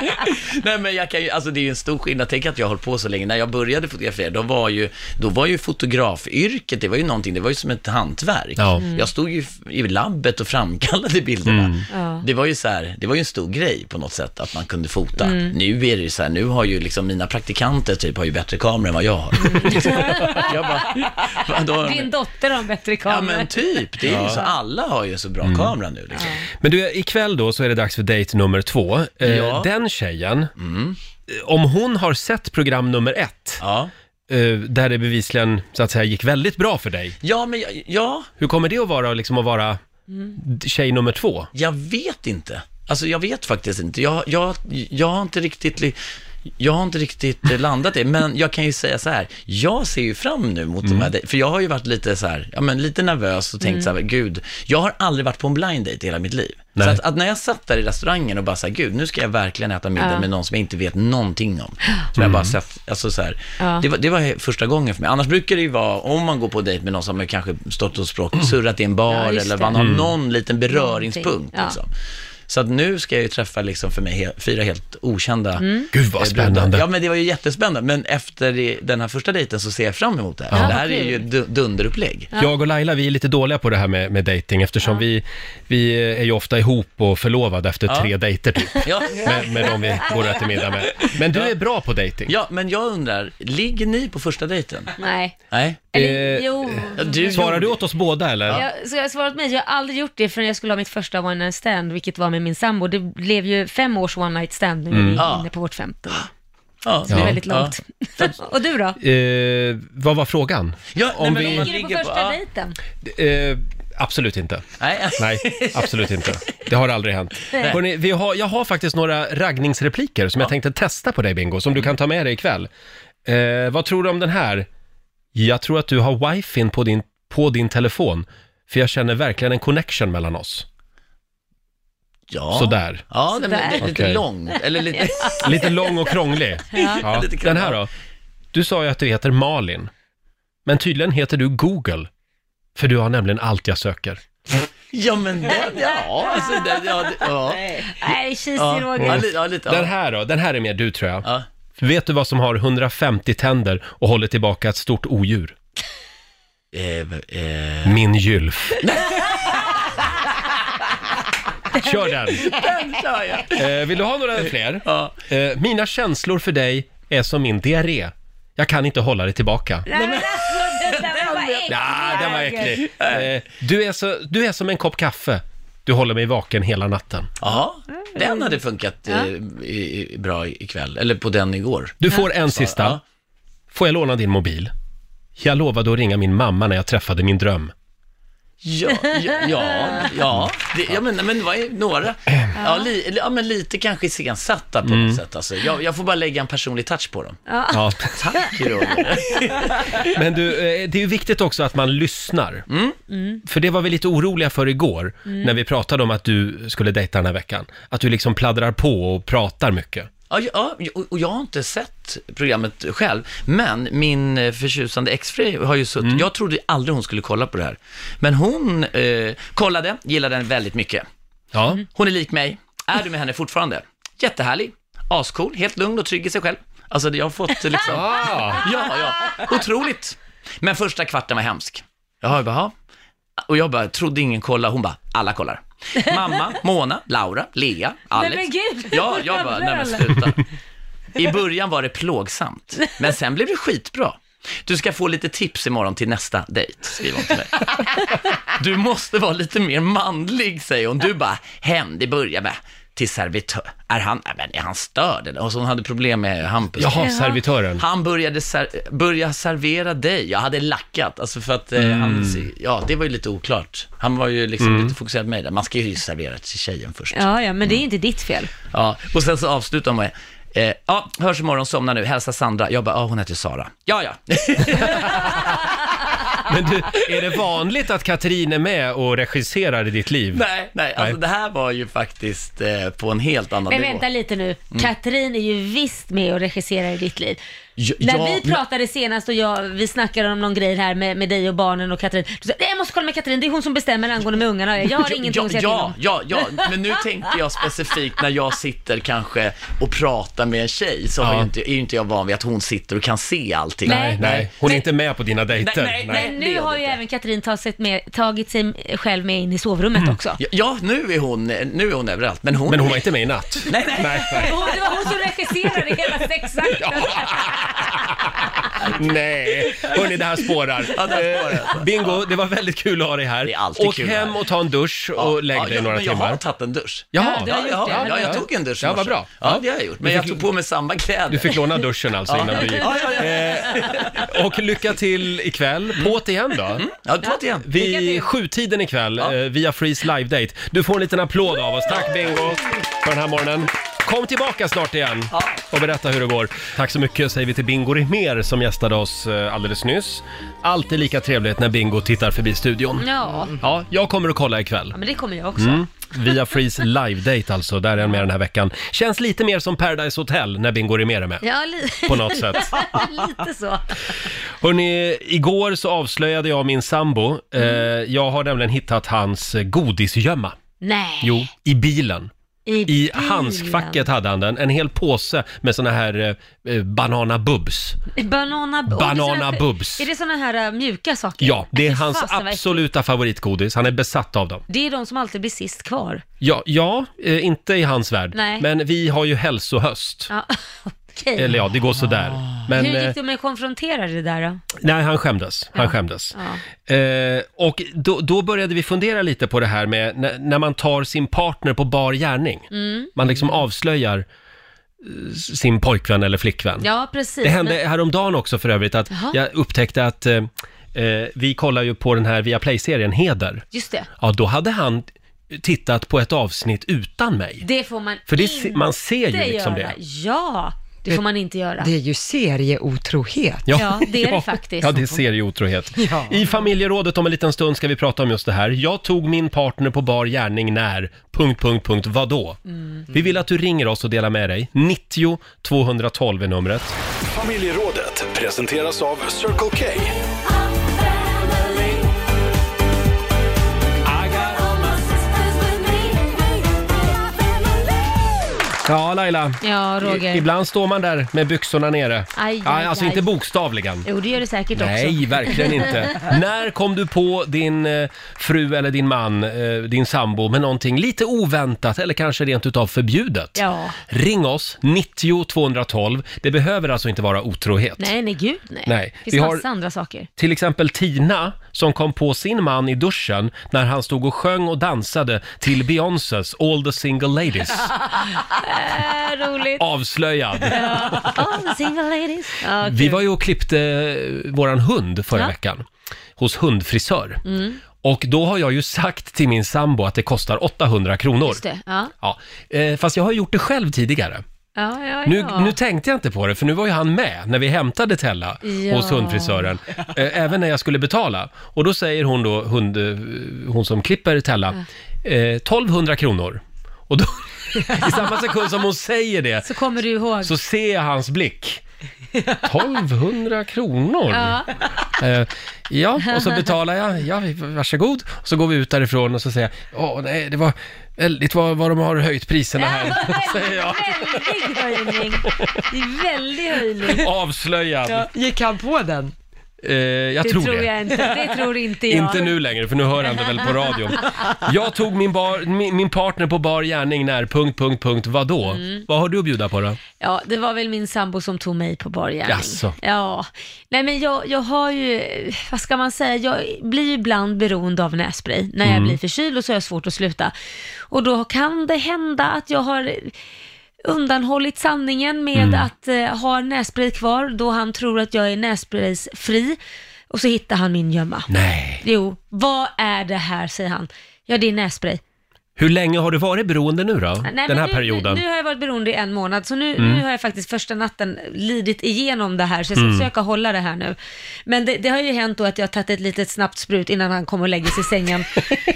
Speaker 9: nej. nej, men jag kan ju, alltså det är ju en stor skillnad. Tänk att jag har hållit på så länge. När jag började fotografera, då var ju, då var ju fotografyrket, det var ju någonting, det var ju som ett hantverk.
Speaker 1: Ja. Mm.
Speaker 9: Jag stod ju i labbet och framkallade bilderna.
Speaker 2: Ja.
Speaker 9: Det var ju så här, det var ju en stor grej på något sätt att man kunde fota.
Speaker 2: Mm.
Speaker 9: Nu är det ju så här, nu har ju liksom mina praktikanter typ har ju bättre kameror än vad jag har. jag bara, vadå?
Speaker 2: Mm. Din dotter har en bättre
Speaker 9: Ja
Speaker 2: kamera.
Speaker 9: men typ, det är ju
Speaker 1: Ja.
Speaker 9: så, alla har ju så bra
Speaker 1: Mm.
Speaker 9: kamera nu liksom.
Speaker 1: Men du, ikväll då så är det dags för dejt nummer två. Eh,
Speaker 9: Ja. Mm.
Speaker 1: Den tjejen, eh, om hon har sett program nummer ett, eh, där det bevisligen så att säga gick väldigt bra för dig.
Speaker 9: Ja, men jag, ja.
Speaker 1: Hur kommer det att vara liksom att vara
Speaker 9: Mm.
Speaker 1: d- tjej nummer två?
Speaker 9: Jag vet inte. Alltså jag vet faktiskt inte. Jag, jag, jag har inte riktigt, li- jag har inte riktigt eh, landat i det, men jag kan ju säga så här, jag ser ju fram nu mot de här, dej- för jag har ju varit lite så här, ja men lite nervös och tänkt
Speaker 6: Mm.
Speaker 9: så här, gud, jag har aldrig varit på en blind date i hela mitt liv. Så att, att när jag satt där i restaurangen och bara så här, gud, nu ska jag verkligen äta middag
Speaker 6: Ja.
Speaker 9: med någon som jag inte vet någonting om.
Speaker 6: Mm.
Speaker 9: Som jag bara sett, alltså så här,
Speaker 6: Ja.
Speaker 9: det, var, det var första gången för mig. Annars brukar det ju vara, om man går på dejt med någon som har kanske stått och språk, surrat i en bar
Speaker 6: Mm. Ja, just
Speaker 9: eller
Speaker 6: det.
Speaker 9: man har
Speaker 6: Mm.
Speaker 9: någon liten beröringspunkt.
Speaker 6: Ja.
Speaker 9: Liksom. Så att nu ska jag ju träffa liksom för mig he- fyra helt okända
Speaker 6: Mm. Gud, vad
Speaker 9: eh, brudar.
Speaker 1: spännande.
Speaker 9: Ja men det var ju jättespännande, men efter i- den här första dejten så ser jag fram emot det här.
Speaker 1: Ja.
Speaker 9: Det här
Speaker 1: Ja,
Speaker 9: är
Speaker 1: vad
Speaker 9: ju
Speaker 1: kul.
Speaker 9: du- dunderupplägg.
Speaker 1: Jag och Laila, vi är lite dåliga på det här med, med dejting eftersom vi, vi är ju ofta ihop och förlovade efter
Speaker 9: Ja.
Speaker 1: tre dejter typ.
Speaker 9: Ja.
Speaker 1: Med, med de vi går och äter middag med. Men du är bra på dejting.
Speaker 9: Ja, men jag undrar, ligger ni på första dejten?
Speaker 2: Nej.
Speaker 9: Nej.
Speaker 2: Eller,
Speaker 9: Eh,
Speaker 2: jo.
Speaker 1: svarar du åt oss båda eller?
Speaker 2: Jag, så jag har svarat mig, jag har aldrig gjort det förrän jag skulle ha mitt första one night stand, vilket var med min sambo. Det blev ju fem års one night stand nu när
Speaker 1: Mm.
Speaker 2: vi är
Speaker 1: Ja.
Speaker 2: inne på vårt femte.
Speaker 9: Ja.
Speaker 2: Så det är väldigt långt. Och du då?
Speaker 1: Eh, vad var frågan?
Speaker 2: om vi... Ligger du på första dejten?
Speaker 1: Eh, absolut inte.
Speaker 9: Nej.
Speaker 1: absolut inte. Det har aldrig hänt.
Speaker 2: Nej.
Speaker 1: Hörrni, vi har, jag har faktiskt några raggningsrepliker som jag tänkte testa på dig Bingo, som du kan ta med dig ikväll. Eh, vad tror du om den här? Jag tror att du har wifin på din, på din telefon, för jag känner verkligen en connection mellan oss.
Speaker 9: Ja.
Speaker 1: Sådär.
Speaker 9: Ja, den är lite
Speaker 1: Okej.
Speaker 9: lång. Eller lite...
Speaker 1: Lite lång och krånglig.
Speaker 9: Ja.
Speaker 1: Ja.
Speaker 9: Lite krånglig.
Speaker 1: Den här då. Du sa ju att du heter Malin. Men tydligen heter du Google. För du har nämligen allt jag söker.
Speaker 9: Ja, men den, ja, alltså den, ja, det- ja.
Speaker 2: Nej, kisig Roger.
Speaker 9: Ja, li- ja, lite,
Speaker 1: Den
Speaker 9: ja.
Speaker 1: här då, den här är mer du tror jag. Vet du vad som har 150 tänder och håller tillbaka ett stort odjur?
Speaker 9: Eh,
Speaker 1: Min gylf. Kör den.
Speaker 9: Den kör jag.
Speaker 1: Eh, vill du ha några fler? Eh, mina känslor för dig är som min diarré. Jag kan inte hålla det tillbaka.
Speaker 2: Nej, men alltså, den där var äcklig.
Speaker 1: Ja, den var äcklig.
Speaker 9: Nej.
Speaker 1: Eh, du, är så, du är som en kopp kaffe. Du håller mig vaken hela natten.
Speaker 9: Ja, den hade funkat eh, i- i- bra ikväll, eller på den igår.
Speaker 1: Du får en sista. Får jag låna din mobil? Jag lovade att ringa min mamma när jag träffade min dröm.
Speaker 9: Ja, ja, ja, ja. Det, ja men, men vad är några? Ja, li, ja, men lite kanske iscensatta på
Speaker 1: Mm.
Speaker 9: något sätt. Alltså. Jag, jag får bara lägga en personlig touch på dem.
Speaker 2: Ja.
Speaker 1: Ja.
Speaker 9: Tack Roger.
Speaker 1: Men du, eh, det är ju viktigt också att man lyssnar. För det var vi lite oroliga för igår,
Speaker 9: Mm.
Speaker 1: när vi pratade om att du skulle dejta den här veckan. Att du liksom pladdrar på och pratar mycket.
Speaker 9: Ja, ja, och- och jag har inte sett programmet själv, men min eh, förtjusande exfru har ju suttit, jag trodde aldrig hon skulle kolla på det här. Men hon eh, kollade, gillade den väldigt mycket.
Speaker 1: Ja.
Speaker 9: Hon är lik mig, är du med henne fortfarande? Jättehärlig, ascool, helt lugn och trygg i sig själv. Alltså jag har fått eh, liksom,
Speaker 1: Ah.
Speaker 9: ja, ja, otroligt. Men första kvarten var hemsk. Jaha, jag bara, "Ja." och jag bara, trodde ingen kollade, hon bara, alla kollar. Mamma, Mona, Laura, Lea, Alex.
Speaker 2: Nej men gud.
Speaker 9: Ja, jag bara, nej men sluta. I början var det plågsamt, men sen blev det skitbra. Du ska få lite tips imorgon till nästa dejt, skriver hon till mig. Du måste vara lite mer manlig, säger hon. Du bara, hem, det börjar med, till servitör. Är han, nej, men är han störd eller? Och så hon hade problem med Hampus.
Speaker 1: Jaha, Jaha. servitören.
Speaker 9: Han började, ser, började servera dig. Jag hade lackat, alltså för att eh, han, ja, det var ju lite oklart. Han var ju liksom lite fokuserad på mig där. Man ska ju servera till tjejen först.
Speaker 2: Ja, ja, men det är inte ditt fel.
Speaker 9: Ja, och sen så avslutar hon med, eh, ja, hörs imorgon, somna nu, hälsa Sandra. Jag bara, ja, hon heter Sara. Ja, ja.
Speaker 1: Men du, är det vanligt att Katrin är med och regisserar i ditt liv?
Speaker 9: Nej, nej, alltså det här var ju faktiskt eh, på en helt annan
Speaker 2: Men
Speaker 9: nivå.
Speaker 2: vänta lite nu.
Speaker 9: Mm.
Speaker 2: Katrin är ju visst med och regisserar i ditt liv.
Speaker 9: Ja,
Speaker 2: När
Speaker 9: ja,
Speaker 2: vi pratade senast och jag, vi snackade om någon grej här med, med dig och barnen och Katrin. Du sa, "Nej, jag måste kolla med Katrin, det är hon som bestämmer angående med ungarna. Jag har ingenting
Speaker 9: ja,
Speaker 2: att säga till
Speaker 9: ja,
Speaker 2: om.
Speaker 9: ja, ja, men nu tänkte jag specifikt när jag sitter kanske och pratar med en tjej så har
Speaker 1: Ja.
Speaker 9: ju inte, är ju inte jag van vid att hon sitter och kan se allting.
Speaker 2: Nej.
Speaker 1: Nej, hon är inte med på dina dejter.
Speaker 9: Nej, nej, nej.
Speaker 2: Men
Speaker 9: det
Speaker 2: nu
Speaker 9: är
Speaker 2: har ju även Katrin tagit sig, med, tagit sig själv med in i sovrummet
Speaker 9: Mm.
Speaker 2: också.
Speaker 9: Ja, Ja, nu är hon, nu är hon överallt. Men hon,
Speaker 1: Men hon var inte med i natt.
Speaker 9: Nej, nej.
Speaker 2: Hon, det var hon som regisserade hela sexakten.
Speaker 1: Nej, hörni det här spårar.
Speaker 9: Ja, det här spårar,
Speaker 1: Eh,
Speaker 9: alltså.
Speaker 1: Bingo, det var väldigt kul att ha dig här. Det är
Speaker 9: alltid
Speaker 1: Åk
Speaker 9: kul
Speaker 1: hem
Speaker 9: här.
Speaker 1: och ta en dusch och lägg
Speaker 9: ja,
Speaker 1: dig
Speaker 9: ja,
Speaker 1: några
Speaker 9: men jag
Speaker 1: timmar.
Speaker 9: har tagit en dusch.
Speaker 1: Jaha.
Speaker 9: ja, ja, ja, ja, jag tog en dusch i
Speaker 1: Ja, vad
Speaker 9: morse.
Speaker 1: bra.
Speaker 9: Ja, det har jag gjort. Men
Speaker 1: Du
Speaker 9: jag
Speaker 1: fick-
Speaker 9: tog på mig samma kläder.
Speaker 1: Du fick låna duschen alltså
Speaker 9: Ja.
Speaker 1: innan du gick.
Speaker 9: Ja, ja, ja.
Speaker 1: Eh, Och lycka till ikväll. På't igen då.
Speaker 9: Ja, på't igen. Mm. Lycka
Speaker 1: Vid
Speaker 9: till.
Speaker 1: sjutiden ikväll eh, via Freeze Live Date. Du får en liten applåd av oss. Tack Bingo för den här morgonen. Kom tillbaka snart igen och berätta hur det går. Tack så mycket säger vi till Bingo Rimér som gästade oss eh, alldeles nyss. Alltid lika trevligt när Bingo tittar förbi studion.
Speaker 9: Mm.
Speaker 2: Ja.
Speaker 1: Ja, jag kommer att kolla ikväll.
Speaker 2: ja, men det kommer jag också.
Speaker 1: Mm. Via Freeze live-date alltså, där är han med den här veckan. Känns lite mer som Paradise Hotel när Bingo Rimér är med.
Speaker 2: Ja, li-
Speaker 1: På något sätt.
Speaker 2: lite så.
Speaker 1: Hörrni, igår så avslöjade jag min sambo.
Speaker 2: Mm.
Speaker 1: Eh, jag har nämligen hittat hans eh, godisgömma.
Speaker 2: Nej.
Speaker 1: Jo, i bilen.
Speaker 2: I
Speaker 1: I
Speaker 2: bilen.
Speaker 1: handskfacket hade han den. En hel påse med såna här eh, eh, banana bubs.
Speaker 2: Banana, och det är
Speaker 1: Banana
Speaker 2: såna här-
Speaker 1: bubs.
Speaker 2: Är det sådana här äh, mjuka saker?
Speaker 1: Ja, det är
Speaker 2: Fy
Speaker 1: hans
Speaker 2: fasen, vad äckligt.
Speaker 1: absoluta favoritgodis. Han är besatt av dem.
Speaker 2: Det är de som alltid blir sist kvar.
Speaker 1: Ja, ja eh, inte i hans värld.
Speaker 2: Nej.
Speaker 1: Men vi har ju hälsohöst.
Speaker 2: Ja. okej.
Speaker 1: Eller ja, det går sådär. Men,
Speaker 2: Hur
Speaker 1: eh,
Speaker 2: gick det med att konfrontera det där då?
Speaker 1: Nej, han skämdes. Han skämdes. Eh, och då, då började vi fundera lite på det här med när, när man tar sin partner på bar gärning.
Speaker 2: Mm.
Speaker 1: Man liksom avslöjar eh, sin pojkvän eller flickvän.
Speaker 2: Ja, precis.
Speaker 1: Det hände
Speaker 2: men-
Speaker 1: häromdagen också för övrigt att
Speaker 2: Jaha.
Speaker 1: jag upptäckte att eh, eh, vi kollar ju på den här Viaplay-serien Heder.
Speaker 2: Just det.
Speaker 1: Ja, då hade han tittat på ett avsnitt utan mig.
Speaker 2: Det får man
Speaker 1: För det se-
Speaker 2: inte
Speaker 1: man ser ju liksom
Speaker 2: göra.
Speaker 1: det.
Speaker 2: Ja, det får man inte göra.
Speaker 3: Det är ju serieotrohet.
Speaker 2: Ja, det är det faktiskt.
Speaker 1: Ja, det är serieotrohet. I familjerådet om en liten stund ska vi prata om just det här. Jag tog min partner på bar gärning när... Punkt, punkt, punkt. Vadå?
Speaker 2: Mm.
Speaker 1: Vi vill att du ringer oss och delar med dig. 90 212 är numret.
Speaker 4: Familjerådet presenteras av Circle K.
Speaker 1: Ja, Laila.
Speaker 2: Ja, Roger.
Speaker 1: I, ibland står man där med byxorna nere.
Speaker 2: aj,
Speaker 1: Ja, alltså
Speaker 2: aj.
Speaker 1: inte bokstavligen.
Speaker 2: Jo, det gör det säkert också.
Speaker 1: Nej, verkligen inte. När kom du på din eh, fru eller din man, eh, din sambo, med någonting lite oväntat eller kanske rent utav förbjudet?
Speaker 2: Ja.
Speaker 1: Ring oss, 90 212. Det behöver alltså inte vara otrohet.
Speaker 2: Nej, nej, gud nej.
Speaker 1: Nej,
Speaker 2: Det
Speaker 1: vi
Speaker 2: finns
Speaker 1: har-
Speaker 2: massa andra saker.
Speaker 1: Till exempel Tina som kom på sin man i duschen när han stod och sjöng och dansade till Beyoncés All the single ladies.
Speaker 2: Äh, roligt.
Speaker 1: Avslöjad.
Speaker 2: All the single ladies. Ja,
Speaker 1: Vi
Speaker 2: kul.
Speaker 1: var ju och klippte eh, våran hund förra
Speaker 2: Ja.
Speaker 1: veckan hos hundfrisör.
Speaker 2: Mm,
Speaker 1: Och då har jag ju sagt till min sambo att det kostar 800 kronor.
Speaker 2: just det. Ja,
Speaker 1: Ja, eh, fast jag har gjort det själv tidigare.
Speaker 2: ja, ja.
Speaker 1: Nu,
Speaker 2: ja.
Speaker 1: nu tänkte jag inte på det, för nu var ju han med när vi hämtade Tella
Speaker 2: Ja.
Speaker 1: hos hundfrisören. Eh, även när jag skulle betala. Och då säger hon då, hund, eh, hon som klipper Tella, eh, 1200 kronor. Och då, i samma sekund som hon säger det,
Speaker 2: Så kommer du ihåg.
Speaker 1: så ser jag hans blick. 1200 kronor?
Speaker 2: Ja.
Speaker 1: Eh, ja, och så betalar jag. Ja, varsågod. Och så går vi ut därifrån och så säger jag, åh nej, det var väldigt vad, vad de har höjt priserna här. säger jag.
Speaker 2: Väldig höjning. Det är väldig höjning.
Speaker 1: Avslöjad.
Speaker 3: gick han på den?
Speaker 1: Eh, jag tror, det.
Speaker 2: jag inte. Det tror inte jag.
Speaker 1: Inte nu längre, för nu hör han det väl på radion. Jag tog min, bar, min, min partner på bar gärning när... Punkt, punkt, punkt, vadå?
Speaker 2: Mm.
Speaker 1: Vad har du att bjuda på då?
Speaker 2: Ja, det var väl min sambo som tog mig på bar gärning.
Speaker 1: Jaså?
Speaker 2: Ja. Nej men jag, jag har ju, vad ska man säga, jag blir ju ibland beroende av nässpray. När jag
Speaker 12: Mm.
Speaker 2: blir förkyld och så har jag svårt att sluta. Och då kan det hända att jag har undanhållit sanningen med
Speaker 12: Mm.
Speaker 2: att eh, ha nässpray kvar då han tror att jag är nässpraysfri. Och så hittar han min gömma.
Speaker 1: Nej.
Speaker 2: Jo, vad är det här, säger han. Ja, det är nässpray.
Speaker 1: Hur länge har du varit beroende nu då?
Speaker 2: Nej,
Speaker 1: Den
Speaker 2: men
Speaker 1: här
Speaker 2: nu,
Speaker 1: perioden?
Speaker 2: Nu, nu har jag varit beroende i en månad, så nu,
Speaker 1: Mm.
Speaker 2: nu har jag faktiskt första natten lidit igenom det här, så jag ska
Speaker 1: Mm.
Speaker 2: försöka hålla det här nu. Men det, det har ju hänt då att jag har tagit ett litet snabbt sprut innan han kommer och lägger sig i sängen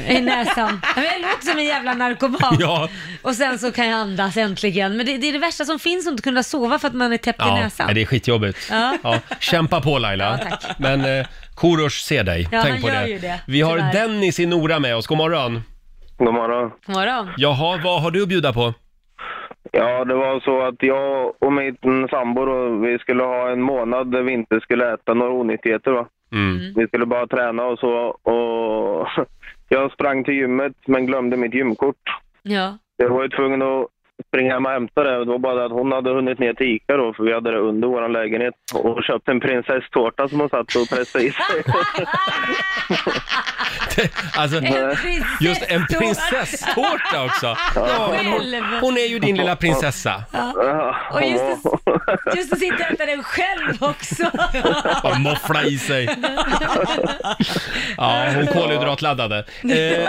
Speaker 2: i näsan. Men jag låter som en jävla narkoman.
Speaker 1: Ja.
Speaker 2: Och sen så kan jag andas äntligen. Men det, det är det värsta som finns, att inte kunna sova för att man är täppt i
Speaker 1: Ja,
Speaker 2: näsan.
Speaker 1: nej, det är skitjobbigt.
Speaker 2: Ja.
Speaker 1: kämpa på Laila. Men eh, Korosh ser dig,
Speaker 2: Ja,
Speaker 1: tänk
Speaker 2: han
Speaker 1: på
Speaker 2: gör
Speaker 1: det.
Speaker 2: ju det,
Speaker 1: Vi har
Speaker 2: tyvärr.
Speaker 1: Dennis i Nora med oss, god morgon. God morgon.
Speaker 2: God morgon.
Speaker 1: Jaha, vad har du att bjuda på?
Speaker 13: Ja, det var så att jag och min sambo då, vi skulle ha en månad där vi inte skulle äta några onyttigheter. Va?
Speaker 1: Mm.
Speaker 13: Vi skulle bara träna och så. Och jag sprang till gymmet men glömde mitt gymkort.
Speaker 2: Ja.
Speaker 13: Jag var ju tvungen att springa hem och hämta det. Det var bara det att hon hade hunnit ner till Ica då, för vi hade det under vår lägenhet. Och köpt en prinsesstårta som hon satt och pressade i sig.
Speaker 1: Alltså,
Speaker 13: En
Speaker 1: just en prinsesstårta också. Ja, men hon, hon är ju din lilla prinsessa.
Speaker 13: Ja.
Speaker 2: Och just det, just det sitter och äter den själv också.
Speaker 1: Bara moffla i sig. Ja, hon kolhydratladdade. Eh,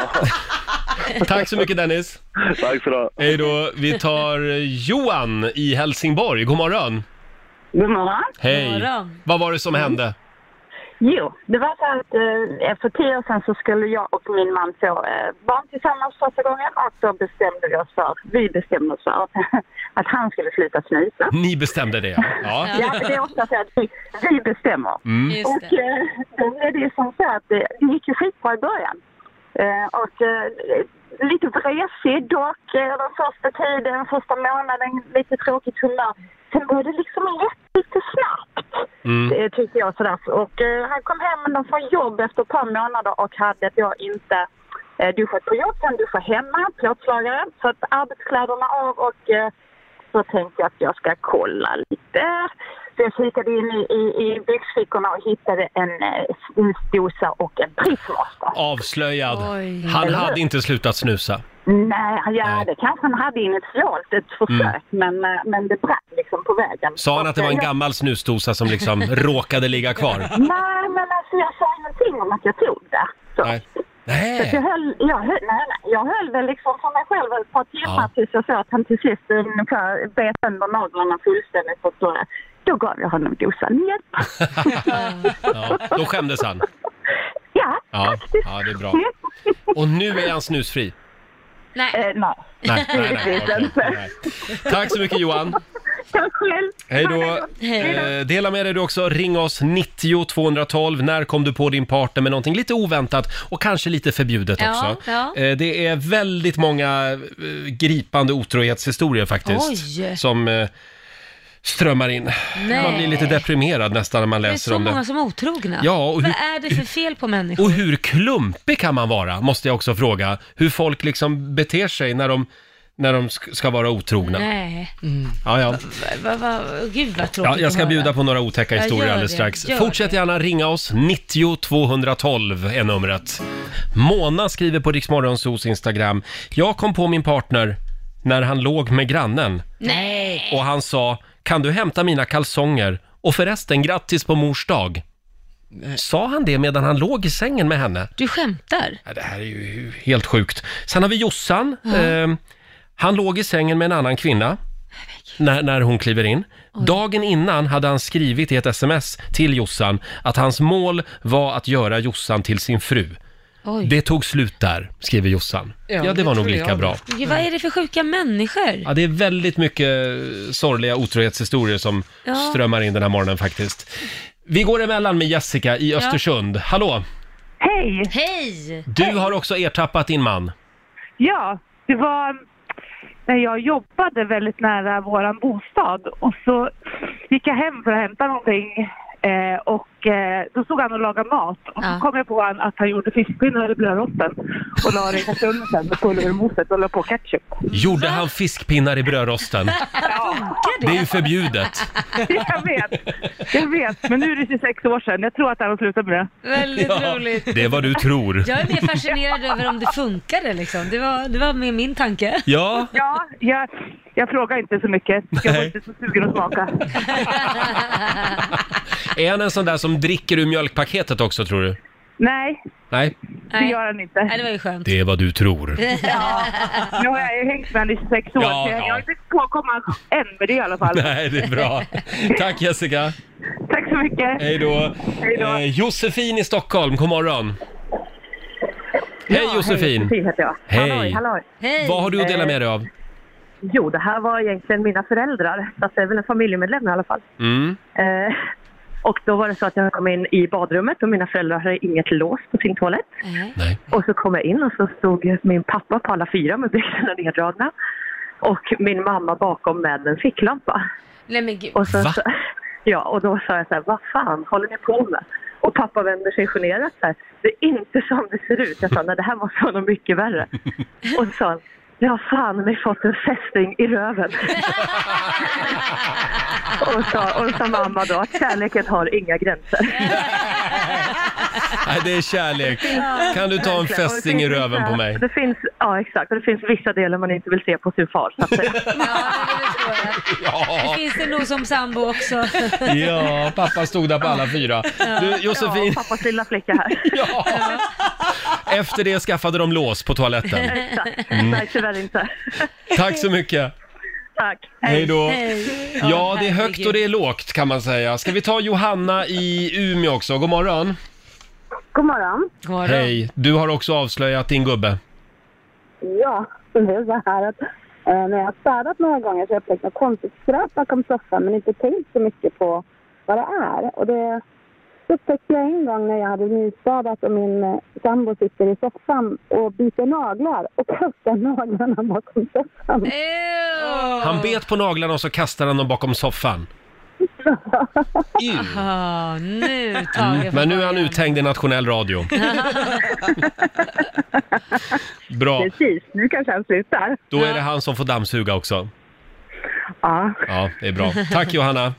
Speaker 1: tack så mycket Dennis.
Speaker 13: Tack för det.
Speaker 1: Hej då. Vi tar eh, Johan i Helsingborg. God morgon.
Speaker 14: God morgon.
Speaker 1: Hej.
Speaker 14: God morgon.
Speaker 1: Vad var det som hände?
Speaker 14: Jo, det var så att eh, för tio år sedan så skulle jag och min man få eh, barn tillsammans första gången och då bestämde vi oss för, vi bestämde oss för att han skulle sluta snusa.
Speaker 1: Ni bestämde det. Ja.
Speaker 14: Ja, men det är ofta så att vi, vi bestämmer.
Speaker 1: Mm.
Speaker 12: Just
Speaker 14: Och eh, då är det ju som så att eh, det, det gick ju skitbra i början. Eh, och eh, lite vresig dock eh, den första tiden, första månaden, lite tråkigt humör. Sen blev det liksom rätt lite snabbt,
Speaker 12: Mm.
Speaker 14: eh, tyckte jag sådär. Och eh, han kom hem från jobb efter ett par månader och hade då inte eh, duschat på jobb, sen duschat hemma, plåtslagare. Så att arbetskläderna av och eh,
Speaker 15: så tänkte jag att jag ska kolla lite. Så jag kikade in i, i, i byxfickorna och hittade en eh, snusdosa och en prismaster.
Speaker 1: Avslöjad.
Speaker 15: Oj.
Speaker 1: Han hade inte slutat snusa.
Speaker 15: Nej, ja, det kanske han hade initialt, ett försök, men, eh, men det brann liksom på vägen.
Speaker 1: Mm. Sa han att det var en gammal snusdosa som liksom råkade ligga kvar?
Speaker 15: Nej, men alltså jag sa ingenting om att jag tog det.
Speaker 1: Nej.
Speaker 15: Så
Speaker 1: Eh.
Speaker 15: att jag, höll, jag, höll, nej, nej, jag höll väl liksom för mig själv ett par timmar tills jag såg att han till sist ungefär bet sönder naglarna fullständigt. Och då, då gav jag honom dosan igen.
Speaker 1: Ja, då skämdes han.
Speaker 15: Ja,
Speaker 1: Ja, ja, det är bra. Och nu är han snusfri.
Speaker 2: Nej.
Speaker 16: eh,
Speaker 15: nej.
Speaker 1: Nej, nej, nej,
Speaker 15: Givetvis
Speaker 1: okej,
Speaker 15: inte.
Speaker 1: Tack så mycket Johan.
Speaker 15: Tack själv.
Speaker 1: Hej då. Eh, dela med dig du också. Ring oss 90 212. När kom du på din partner med någonting lite oväntat och kanske lite förbjudet
Speaker 2: Ja,
Speaker 1: också?
Speaker 2: ja.
Speaker 1: Eh, det är väldigt många eh, gripande otrohetshistorier faktiskt.
Speaker 2: Oj.
Speaker 1: Som eh, strömmar in.
Speaker 2: Nej.
Speaker 1: Man blir lite deprimerad nästan när man
Speaker 2: Det är
Speaker 1: läser
Speaker 2: så
Speaker 1: om
Speaker 2: många
Speaker 1: det.
Speaker 2: som är otrogna.
Speaker 1: Ja, och hur-
Speaker 2: Vad är det för fel på människor?
Speaker 1: Och hur klumpig kan man vara, måste jag också fråga. Hur folk liksom beter sig när de, när de sk- ska vara otrogna.
Speaker 2: Nej.
Speaker 1: Ja, ja.
Speaker 2: Va, va, gud vad tråkigt
Speaker 1: Ja, jag ska
Speaker 2: att höra.
Speaker 1: bjuda på några otäcka
Speaker 2: Ja,
Speaker 1: historier
Speaker 2: gör
Speaker 1: alldeles
Speaker 2: det,
Speaker 1: strax.
Speaker 2: gör
Speaker 1: Fortsätt gärna ringa oss, 90 212 är numret. Mona skriver på Riksmorgonsos Instagram, jag kom på min partner när han låg med grannen
Speaker 2: Nej.
Speaker 1: och han sa, kan du hämta mina kalsonger? Och förresten, grattis på mors dag. Sa han det medan han låg i sängen med henne?
Speaker 2: Du skämtar?
Speaker 1: Ja, det här är ju helt sjukt. Sen har vi Jossan.
Speaker 2: Ja.
Speaker 1: Eh, han låg i sängen med en annan kvinna när, när hon kliver in. Dagen innan hade han skrivit i ett sms till Jossan att hans mål var att göra Jossan till sin fru.
Speaker 2: Oj.
Speaker 1: Det tog slut där, skriver Jossan. Ja, det, var nog lika bra.
Speaker 2: Gud, vad är det för sjuka människor?
Speaker 1: Ja, det är väldigt mycket sorgliga otrohetshistorier som
Speaker 2: Ja.
Speaker 1: strömmar in den här morgonen faktiskt. Vi går emellan med Jessica i
Speaker 2: Ja.
Speaker 1: Östersund. Hallå!
Speaker 16: Hej!
Speaker 2: Hej!
Speaker 1: Du har också ertappat din man.
Speaker 16: Ja, det var när jag jobbade väldigt nära våran bostad och så gick jag hem för att hämta någonting eh, och eh, då stod han och lagade mat och så kom jag på han att han gjorde fiskpinnar i blödrosten och la det i kastrullen sen med pulvermoset och la på ketchup.
Speaker 1: Gjorde han fiskpinnar i brödrosten?
Speaker 16: Funkar
Speaker 1: Det är ju förbjudet.
Speaker 16: jag vet, jag vet. Men nu är det 26 år sedan. Jag tror att han har slutat med det.
Speaker 2: Väldigt roligt.
Speaker 1: Det är vad du tror.
Speaker 2: Jag är mer fascinerad över om det funkade liksom. Det var, det var med min tanke.
Speaker 1: Ja.
Speaker 16: Ja, jag, jag frågar inte så mycket. Jag var
Speaker 1: Nej.
Speaker 16: inte så sugen att smaka.
Speaker 1: Är han en sån där som dricker ur mjölkpaketet också tror du?
Speaker 16: Nej,
Speaker 1: Nej,
Speaker 16: det gör han inte. Nej,
Speaker 2: det var ju skönt.
Speaker 1: det är vad du tror.
Speaker 16: Ja, nu har jag ju hängt med honom i sex år,
Speaker 1: Ja,
Speaker 16: så jag
Speaker 1: ja.
Speaker 16: har inte påkommit än med det i alla fall.
Speaker 1: Nej, det är bra. Tack Jessica.
Speaker 16: Tack så mycket.
Speaker 1: Hej då.
Speaker 16: Hej då.
Speaker 1: Eh, Josefin i Stockholm, god morgon. Hej Josefin.
Speaker 7: Hej, heter jag.
Speaker 1: Hej.
Speaker 7: Halloj, halloj.
Speaker 1: Vad har du att dela med dig av?
Speaker 7: Eh, jo, det här var egentligen mina föräldrar, så att det är väl en familjemedlem i alla fall.
Speaker 1: Mm.
Speaker 7: Eh, och då var det så att jag kom in i badrummet och mina föräldrar hade inget lås på sin toalett. Och så kom jag in och så stod min pappa på alla fyra med byxorna neddragna och min mamma bakom med en ficklampa.
Speaker 2: Nej men gud.
Speaker 7: Och sen så, ja, och då sa jag så här, vad fan håller ni på med? Och pappa vänder sig generat så här, det är inte som det ser ut. Jag sa, nej det här måste vara något mycket värre. Och så sa han, jag har fan mig fått en fästing i röven. och, sa, och sa mamma då, att kärleken har inga gränser.
Speaker 1: Nej, det är kärlek.
Speaker 7: Ja,
Speaker 1: Kan du ta en
Speaker 7: verkligen. Och det
Speaker 1: fästing i
Speaker 7: finns
Speaker 1: röven
Speaker 7: vissa-
Speaker 1: på mig?
Speaker 7: Det finns, ja, exakt. Och det finns vissa delar man inte vill se på sin far. Så att, säga.
Speaker 2: Det finns det nog som sambo också.
Speaker 1: Ja, pappa stod där på alla fyra. Du, Josefin,
Speaker 7: Ja, pappas lilla flicka här.
Speaker 1: Ja. efter det skaffade de lås på toaletten.
Speaker 7: Exakt.
Speaker 1: Mm.
Speaker 7: Nej, tyvärr inte.
Speaker 1: Tack så mycket.
Speaker 7: Tack.
Speaker 1: Hej då.
Speaker 7: Hej.
Speaker 1: Ja, det är högt och det är lågt kan man säga. Ska vi ta Johanna i Umeå också? God morgon.
Speaker 17: God morgon.
Speaker 1: Hej. Du har också avslöjat din gubbe.
Speaker 17: Ja, det är så här att eh, när jag har städat några gånger så har jag upptäckt något konstigt skräp bakom soffan men inte tänkt så mycket på vad det är. Och det upptäckte jag en gång när jag hade nystädat och min eh, sambo sitter i soffan och biter naglar och kastar naglarna bakom soffan.
Speaker 1: Han bet på naglarna och så kastade han dem bakom soffan.
Speaker 2: Ah, nu tar
Speaker 1: Mm.
Speaker 2: jag
Speaker 1: Men nu är han uthängd i nationell radio. Bra.
Speaker 17: Precis, nu kanske han slutar.
Speaker 1: Då är det han som får dammsuga också.
Speaker 18: Ja,
Speaker 1: Ja, det är bra. Tack Johanna.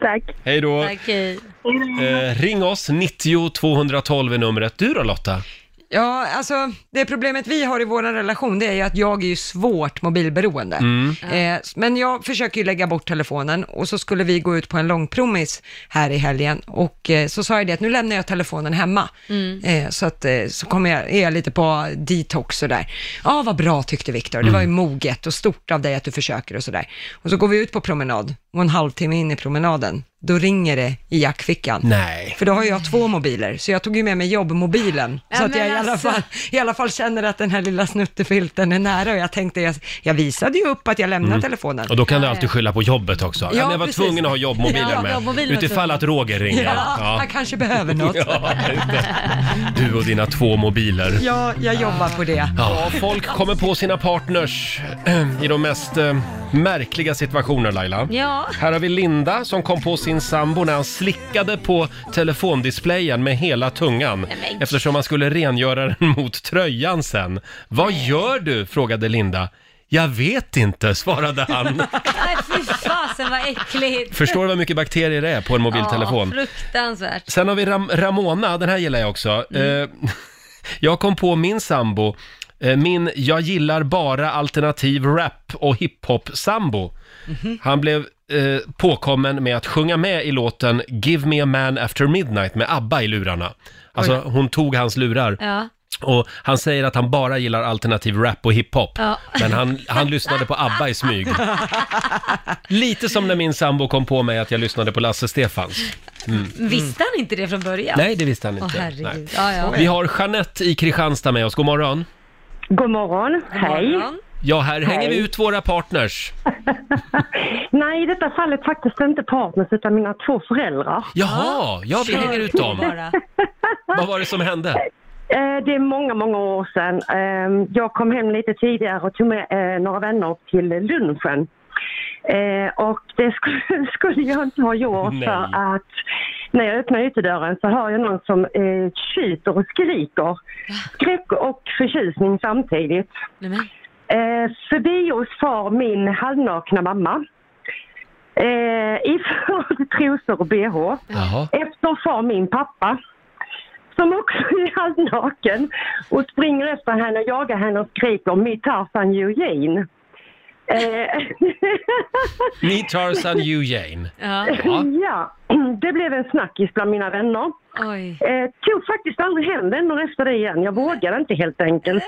Speaker 18: tack.
Speaker 1: Hej då. Eh, ring oss, 90 212 är numret. Du då Lotta?
Speaker 3: Ja, alltså det problemet vi har i vår relation det är ju att jag är ju svårt mobilberoende.
Speaker 1: Mm.
Speaker 3: Eh, men jag försöker ju lägga bort telefonen och så skulle vi gå ut på en lång promis här i helgen och eh, så sa jag det att nu lämnar jag telefonen hemma.
Speaker 19: Mm.
Speaker 3: Eh, så att, eh, så kommer jag, är jag lite på detox och där. Ja, vad bra tyckte Viktor. Det var ju moget och stort av dig att du försöker och sådär. Och så går vi ut på promenad och en halvtimme in i promenaden, då ringer det i jackfickan.
Speaker 1: Nej.
Speaker 3: För då har jag två mobiler, så jag tog ju med mig jobbmobilen.
Speaker 2: Ja,
Speaker 3: så att
Speaker 2: men
Speaker 3: jag i alla,
Speaker 2: alltså.
Speaker 3: fall, i alla fall känner att den här lilla snuttefilten är nära och jag tänkte, jag, jag visade ju upp att jag lämnade
Speaker 1: Mm.
Speaker 3: telefonen.
Speaker 1: Och då kan du alltid skylla på jobbet också. Ja,
Speaker 3: Ja,
Speaker 1: men jag var
Speaker 3: precis.
Speaker 1: tvungen att ha jobbmobilen
Speaker 3: Ja,
Speaker 1: med.
Speaker 3: jobbmobilen var
Speaker 1: Utifall
Speaker 3: tvungen.
Speaker 1: att Roger ringer.
Speaker 3: Ja, han kanske behöver något.
Speaker 1: Ja, just det. du och dina två mobiler.
Speaker 3: Ja, jag jobbar på det.
Speaker 1: Ja, folk kommer på sina partners i de mest eh, märkliga situationer Laila.
Speaker 2: Ja.
Speaker 1: Här har vi Linda som kom på sin sambo när han slickade på telefondisplayen med hela tungan
Speaker 2: men-
Speaker 1: eftersom han skulle rengöra den mot tröjan sen. Vad gör du? frågade Linda. Jag vet inte, svarade han.
Speaker 2: Nej, fy fasen vad äckligt.
Speaker 1: Förstår du vad mycket bakterier det är på en mobiltelefon?
Speaker 2: Ja, fruktansvärt.
Speaker 1: Sen har vi Ram- Ramona, den här gillar jag också.
Speaker 2: Mm.
Speaker 1: Eh, jag kom på min sambo, eh, min jag gillar bara alternativ rap och hiphop-sambo.
Speaker 2: Mhm.
Speaker 1: Han blev eh, påkommen med att sjunga med i låten Give me a man after midnight med ABBA i lurarna. Alltså
Speaker 2: Oj.
Speaker 1: hon tog hans lurar.
Speaker 2: Ja.
Speaker 1: Och han säger att han bara gillar alternativ rap och hiphop.
Speaker 2: Ja.
Speaker 1: Men han, han lyssnade på ABBA i smyg. Lite som när min sambo kom på mig att jag lyssnade på Lasse Stefans. Mm.
Speaker 2: Visste han inte det från början?
Speaker 1: Nej, det visste han
Speaker 2: Åh,
Speaker 1: inte.
Speaker 2: herregud.
Speaker 1: Nej.
Speaker 2: Ja, ja.
Speaker 1: Vi har Jeanette i Kristianstad med oss. God morgon.
Speaker 7: God morgon. Hej.
Speaker 1: Ja, här hänger
Speaker 7: Hej.
Speaker 1: vi ut våra partners.
Speaker 7: Nej, i detta fallet faktiskt inte partners utan mina två föräldrar.
Speaker 1: Jaha, ja, vi hänger ut dem. Vad var det som hände?
Speaker 7: Eh, Det är många, många år sedan. Eh, Jag kom hem lite tidigare och tog med eh, några vänner upp till lunchen. Eh, Och det skulle, skulle jag inte ha gjort för att när jag öppnar ytterdörren så hör jag någon som eh, tjuter och skriker. Skräck och förtjusning samtidigt. Eh, Förbi oss far min halvnakna mamma. Eh, Iförd trosor och bh.
Speaker 1: Jaha.
Speaker 7: Efter far min pappa som också är halvnaken och springer efter henne och jagar henne och skriker mitt Tarzan Eugene. Eh,
Speaker 1: Ni Tarzan, you Jane.
Speaker 7: ja. det blev en snackis bland mina vänner.
Speaker 2: Oj.
Speaker 7: Eh, tog faktiskt aldrig hem vänner efter det igen. Jag vågade inte helt enkelt.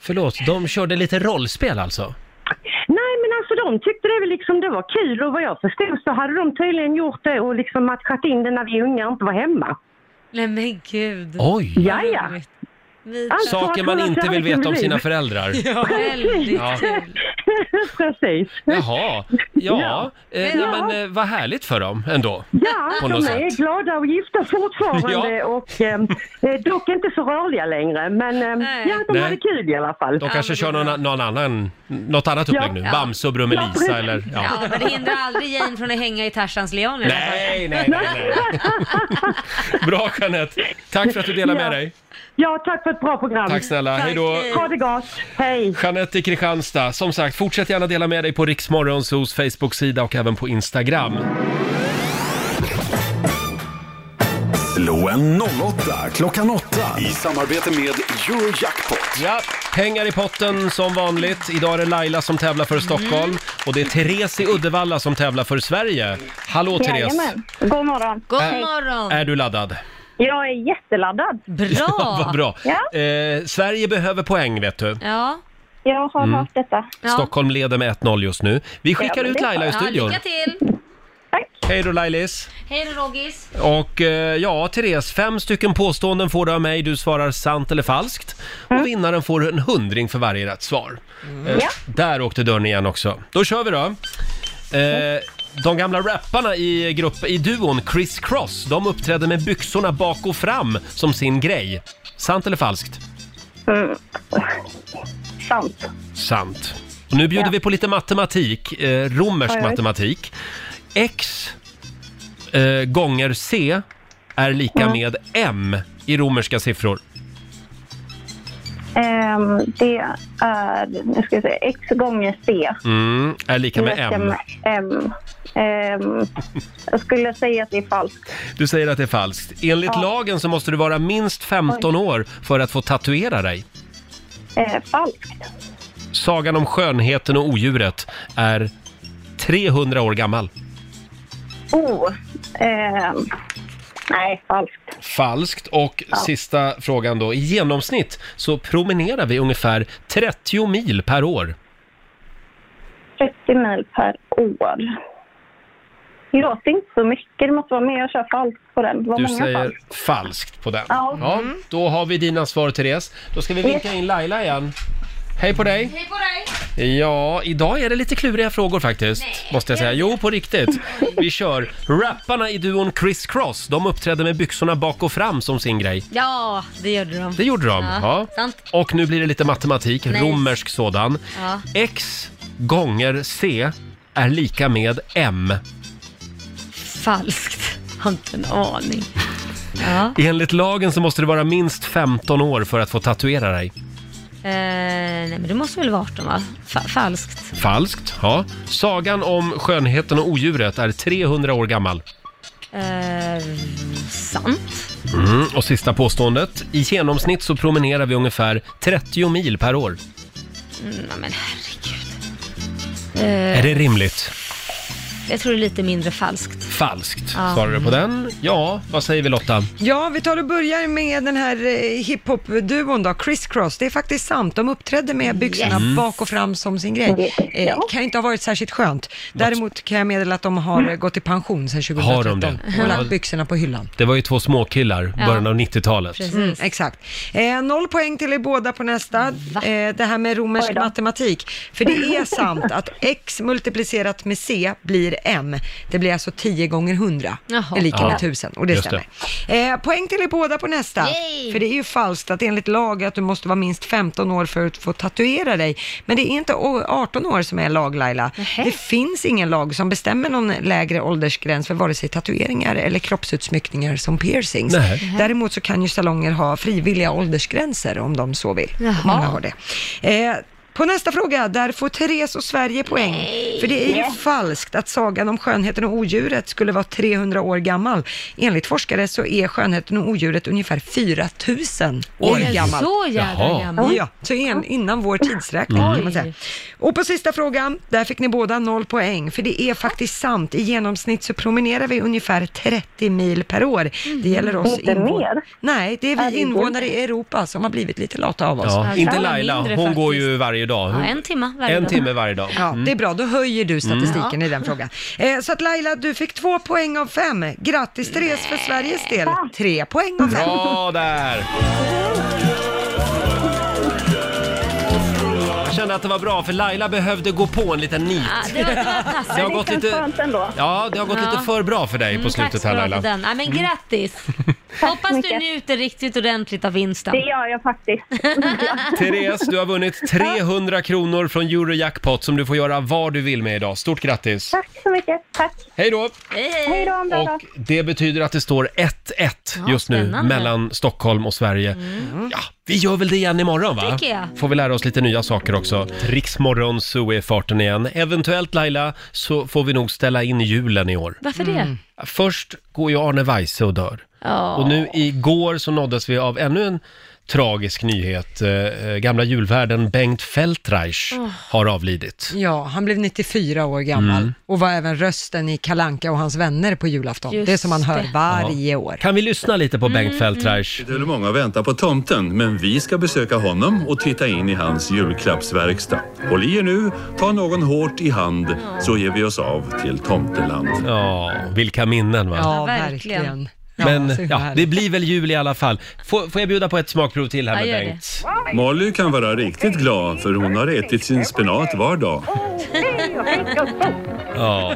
Speaker 1: Förlåt, de körde lite rollspel
Speaker 2: Mm.
Speaker 1: alltså?
Speaker 7: Nej, men alltså de tyckte det, väl liksom, det var kul och vad jag förstod så hade de tydligen gjort det och liksom matchat in det när vi unga inte var hemma.
Speaker 2: Nej men gud.
Speaker 1: Oj.
Speaker 7: Ja, ja. Alltså,
Speaker 1: Saker
Speaker 7: att
Speaker 1: man
Speaker 7: hålla
Speaker 1: inte
Speaker 7: sig
Speaker 1: vill veta om
Speaker 7: aktiv.
Speaker 1: sina föräldrar.
Speaker 7: Ja. Väldigt Precis.
Speaker 1: Jaha, ja.
Speaker 7: Ja.
Speaker 1: Eh, nej, men eh, vad härligt för dem ändå.
Speaker 7: Ja,
Speaker 1: På
Speaker 7: de
Speaker 1: något
Speaker 7: är glada och gifta fortfarande
Speaker 1: Ja.
Speaker 7: och eh, eh, dock inte så rörliga längre. Men eh, ja, de
Speaker 1: Nej.
Speaker 7: hade kul i alla fall.
Speaker 1: De kanske kör någon, någon annan, något annat
Speaker 7: Ja.
Speaker 1: upplägg nu.
Speaker 7: Ja.
Speaker 1: Bamse och Brummelisa
Speaker 7: Ja,
Speaker 1: eller...
Speaker 7: precis.
Speaker 1: Ja.
Speaker 2: Ja, men det hindrar aldrig Jane från att hänga i Tarzans leon i alla fall.
Speaker 1: Nej, nej, nej, nej. Bra Jeanette! Tack för att du delar med
Speaker 7: Ja.
Speaker 1: dig.
Speaker 7: Ja, tack för ett bra program.
Speaker 1: Tack snälla, hej då!
Speaker 7: Ha det gott. Hej.
Speaker 1: Jeanette i Kristianstad, som sagt, fortsätt gärna dela med dig på Riksmorgonsos Facebook-sida och även på Instagram.
Speaker 4: Slå en 08 klockan 8 i samarbete med Eurojackpot.
Speaker 1: Ja, pengar i potten som vanligt. Idag är det Laila som tävlar för Stockholm
Speaker 7: Mm.
Speaker 1: och det är Therese i Uddevalla som tävlar för Sverige. Hallå Therese!
Speaker 20: Jajamän. God morgon.
Speaker 2: God
Speaker 1: Ä-
Speaker 2: morgon.
Speaker 1: Är du laddad?
Speaker 20: Jag är jätteladdad.
Speaker 1: Ja, vad bra!
Speaker 20: Ja,
Speaker 1: Eh, Sverige behöver poäng vet du.
Speaker 2: ja.
Speaker 20: jag har
Speaker 1: Mm.
Speaker 20: hört detta.
Speaker 1: Stockholm leder med 1-0 just nu. Vi skickar ut Laila i
Speaker 2: Ja,
Speaker 1: studion.
Speaker 2: lycka till.
Speaker 1: Hej då Lailis!
Speaker 2: Hej då Rogis.
Speaker 1: Och eh, ja, Therese, fem stycken påståenden får du av mig. Du svarar sant eller falskt. Och vinnaren får en hundring för varje rätt svar. Eh,
Speaker 20: Ja.
Speaker 1: Där åkte dörren igen också. Då kör vi då. Eh, de gamla rapparna i, grupp, i duon Chris Cross, de uppträdde med byxorna bak och fram som sin grej. Sant eller falskt?
Speaker 20: Mm. Sant.
Speaker 1: Sant. Och nu bjuder vi på lite matematik, eh, romersk
Speaker 20: Oj, oj.
Speaker 1: matematik. X eh, gånger C är lika med M i romerska siffror.
Speaker 21: Ehm, det är, nu ska jag säga, x gånger c.
Speaker 1: Mm, är lika med
Speaker 21: Lika
Speaker 1: M.
Speaker 21: M. Ehm, jag skulle säga att det är falskt.
Speaker 1: Du säger att det är falskt. Enligt
Speaker 21: Ja.
Speaker 1: lagen så måste du vara minst 15 år för att få tatuera dig.
Speaker 21: Eh, falskt.
Speaker 1: Sagan om skönheten och odjuret är 300 år gammal.
Speaker 21: Oh. Ehm, nej, falskt.
Speaker 1: Falskt. Och sista frågan då. I genomsnitt så promenerar vi ungefär 30 mil per år.
Speaker 21: 30 mil per år. Det låter inte så mycket. Det måste vara mer. Jag kör falskt på den. Det var
Speaker 1: Du
Speaker 21: många
Speaker 1: säger
Speaker 21: falskt.
Speaker 1: falskt, på den.
Speaker 21: Ja.
Speaker 1: Ja,
Speaker 21: Mm.
Speaker 1: då har vi dina svar, Therese. Då ska vi vinka in Laila igen. Hej på dig!
Speaker 2: Hej på dig!
Speaker 1: Ja, idag är det lite kluriga frågor faktiskt, måste jag säga. Jo, på riktigt. Vi kör. Rapparna i duon Criss Cross, de uppträdde med byxorna bak och fram som sin grej.
Speaker 2: Ja, det gjorde de.
Speaker 1: Det gjorde de. Ja.
Speaker 2: Ja, sant.
Speaker 1: Och nu blir det lite matematik,
Speaker 2: Nice.
Speaker 1: romersk sådan.
Speaker 2: Ja.
Speaker 1: X gånger C är lika med M.
Speaker 2: Falskt. Har inte en aning. Ja.
Speaker 1: Enligt lagen så måste du vara minst 15 år för att få tatuera dig.
Speaker 2: Eh, nej men det måste väl vara 18 va? Fa- falskt.
Speaker 1: Falskt, ja. Sagan om skönheten och odjuret är 300 år gammal.
Speaker 2: Eh, sant.
Speaker 1: Mm, och sista påståendet. I genomsnitt så promenerar vi ungefär 30 mil per år.
Speaker 2: Mm, nej, men herregud. Eh,
Speaker 1: Är det rimligt?
Speaker 2: Jag tror det är lite mindre falskt.
Speaker 1: Falskt,
Speaker 2: Ja.
Speaker 1: svarar du på den. Ja, vad säger vi Lotta?
Speaker 3: Ja, vi tar och börjar med den här eh, hiphop-duon då, Criss Cross. Det är faktiskt sant, de uppträdde med byxorna
Speaker 1: Mm.
Speaker 3: bak och fram som sin grej. Eh, kan inte ha varit särskilt skönt. Däremot kan jag meddela att de har
Speaker 2: Mm.
Speaker 3: eh, gått i pension sedan
Speaker 1: Har de
Speaker 3: 2013
Speaker 1: det?
Speaker 3: och
Speaker 1: Ja.
Speaker 3: lagt byxorna på hyllan.
Speaker 1: Det var ju två småkillar i
Speaker 3: Ja.
Speaker 1: början av 90-talet.
Speaker 3: Mm, exakt. Eh, noll poäng till er båda på nästa. Eh, det här med romersk matematik. För det är sant att x multiplicerat med c blir m. Det blir alltså 10 gånger 100.
Speaker 2: Jaha.
Speaker 3: Är lika med
Speaker 2: Ja,
Speaker 3: 1000 och det
Speaker 2: just
Speaker 3: stämmer. Eh, poäng till er båda på nästa. För det är ju falskt att enligt lag att du måste vara minst 15 år för att få tatuera dig. Men det är inte å- 18 år som är lag Laila. Det finns ingen lag som bestämmer någon lägre åldersgräns för vare sig tatueringar eller kroppsutsmyckningar som piercings.
Speaker 1: Nej.
Speaker 3: Däremot så kan ju salonger ha frivilliga åldersgränser om de så vill.
Speaker 2: Jaha.
Speaker 3: Många har det. Eh, på nästa fråga, där får Therese och Sverige poäng. För det är ju
Speaker 2: Nej.
Speaker 3: falskt att sagan om skönheten och odjuret skulle vara 300 år gammal. Enligt forskare så är skönheten och odjuret ungefär 4000 år
Speaker 2: Oj. Är den
Speaker 3: gammal.
Speaker 2: så jädra Jaha. gammal?
Speaker 3: Ja, så en, innan vår tidsräkning
Speaker 2: Mm.
Speaker 3: kan man säga. Och på sista frågan, där fick ni båda noll poäng, för det är faktiskt sant. I genomsnitt så promenerar vi ungefär 30 mil per år. Det gäller oss
Speaker 1: Inte
Speaker 3: invånare. Nej, det är vi
Speaker 2: Herregud.
Speaker 3: invånare i Europa som har blivit lite lata av oss.
Speaker 1: Ja, inte Laila, hon går ju varje dag.
Speaker 3: Ja, en
Speaker 2: timme
Speaker 1: en timme varje dag.
Speaker 3: Ja,
Speaker 1: Mm.
Speaker 3: det är bra, då höjer du statistiken
Speaker 1: Mm.
Speaker 3: i den frågan. Eh, så att Laila, du fick två poäng av fem. Grattis Therese för Sveriges del, tre poäng av fem.
Speaker 1: Bra där! Jag kände att det var bra för Laila behövde gå på en liten nit.
Speaker 2: Ja, det var, det var taskigt.
Speaker 1: Det har gått lite- Ja, det har gått
Speaker 2: Ja.
Speaker 1: lite för bra för dig
Speaker 2: Mm,
Speaker 1: på
Speaker 2: tack
Speaker 1: slutet
Speaker 2: ska
Speaker 1: här
Speaker 2: du ha
Speaker 1: Laila.
Speaker 2: för Den. Ja, men
Speaker 1: Mm.
Speaker 2: grattis! Hoppas du njuter riktigt ordentligt av vinsten. Det
Speaker 21: gör jag faktiskt.
Speaker 1: Therese, du har vunnit 300 kronor från Eurojackpot som du får göra vad du vill med idag. Stort grattis!
Speaker 21: Tack så mycket. Tack.
Speaker 1: Hej då!
Speaker 2: Hej,
Speaker 21: hej. då, en bra dag.
Speaker 1: Och det betyder att det står 1-1 just nu
Speaker 2: spännande. Mm.
Speaker 1: mellan Stockholm och Sverige. Ja, vi gör väl det igen imorgon va?
Speaker 2: Tycker jag.
Speaker 1: Får vi lära oss lite nya saker också. Riksmorgon så är farten igen. Eventuellt Laila så får vi nog ställa in julen i år.
Speaker 2: Varför det? Mm.
Speaker 1: Först går ju Arne Weise och dör.
Speaker 2: Ja.
Speaker 1: Och nu igår så nåddes vi av ännu en tragisk nyhet. Eh, eh, gamla julvärden Bengt Feldreich
Speaker 3: Åh.
Speaker 1: har avlidit.
Speaker 3: Ja, han blev 94 år gammal
Speaker 1: Mm.
Speaker 3: och var även rösten i Kalanka och hans vänner på julafton.
Speaker 6: Just
Speaker 3: det är som man hör
Speaker 6: det.
Speaker 3: varje år.
Speaker 1: Kan vi lyssna lite på
Speaker 3: Mm,
Speaker 1: Bengt Feldreich?
Speaker 6: Det är väl många väntar på tomten, men vi ska besöka honom och titta in i hans julklappsverkstad. Håll i er nu, ta någon hårt i hand, så ger vi oss av till tomteland.
Speaker 1: Ja, vilka minnen va?
Speaker 3: Ja, verkligen.
Speaker 1: Men
Speaker 3: så
Speaker 1: ja,
Speaker 3: härligt.
Speaker 1: det blir väl jul i alla fall. Får, får jag bjuda på ett smakprov till här med Bengt?
Speaker 6: Molly kan vara riktigt glad för hon har ätit sin spenat var dag.
Speaker 1: Ja.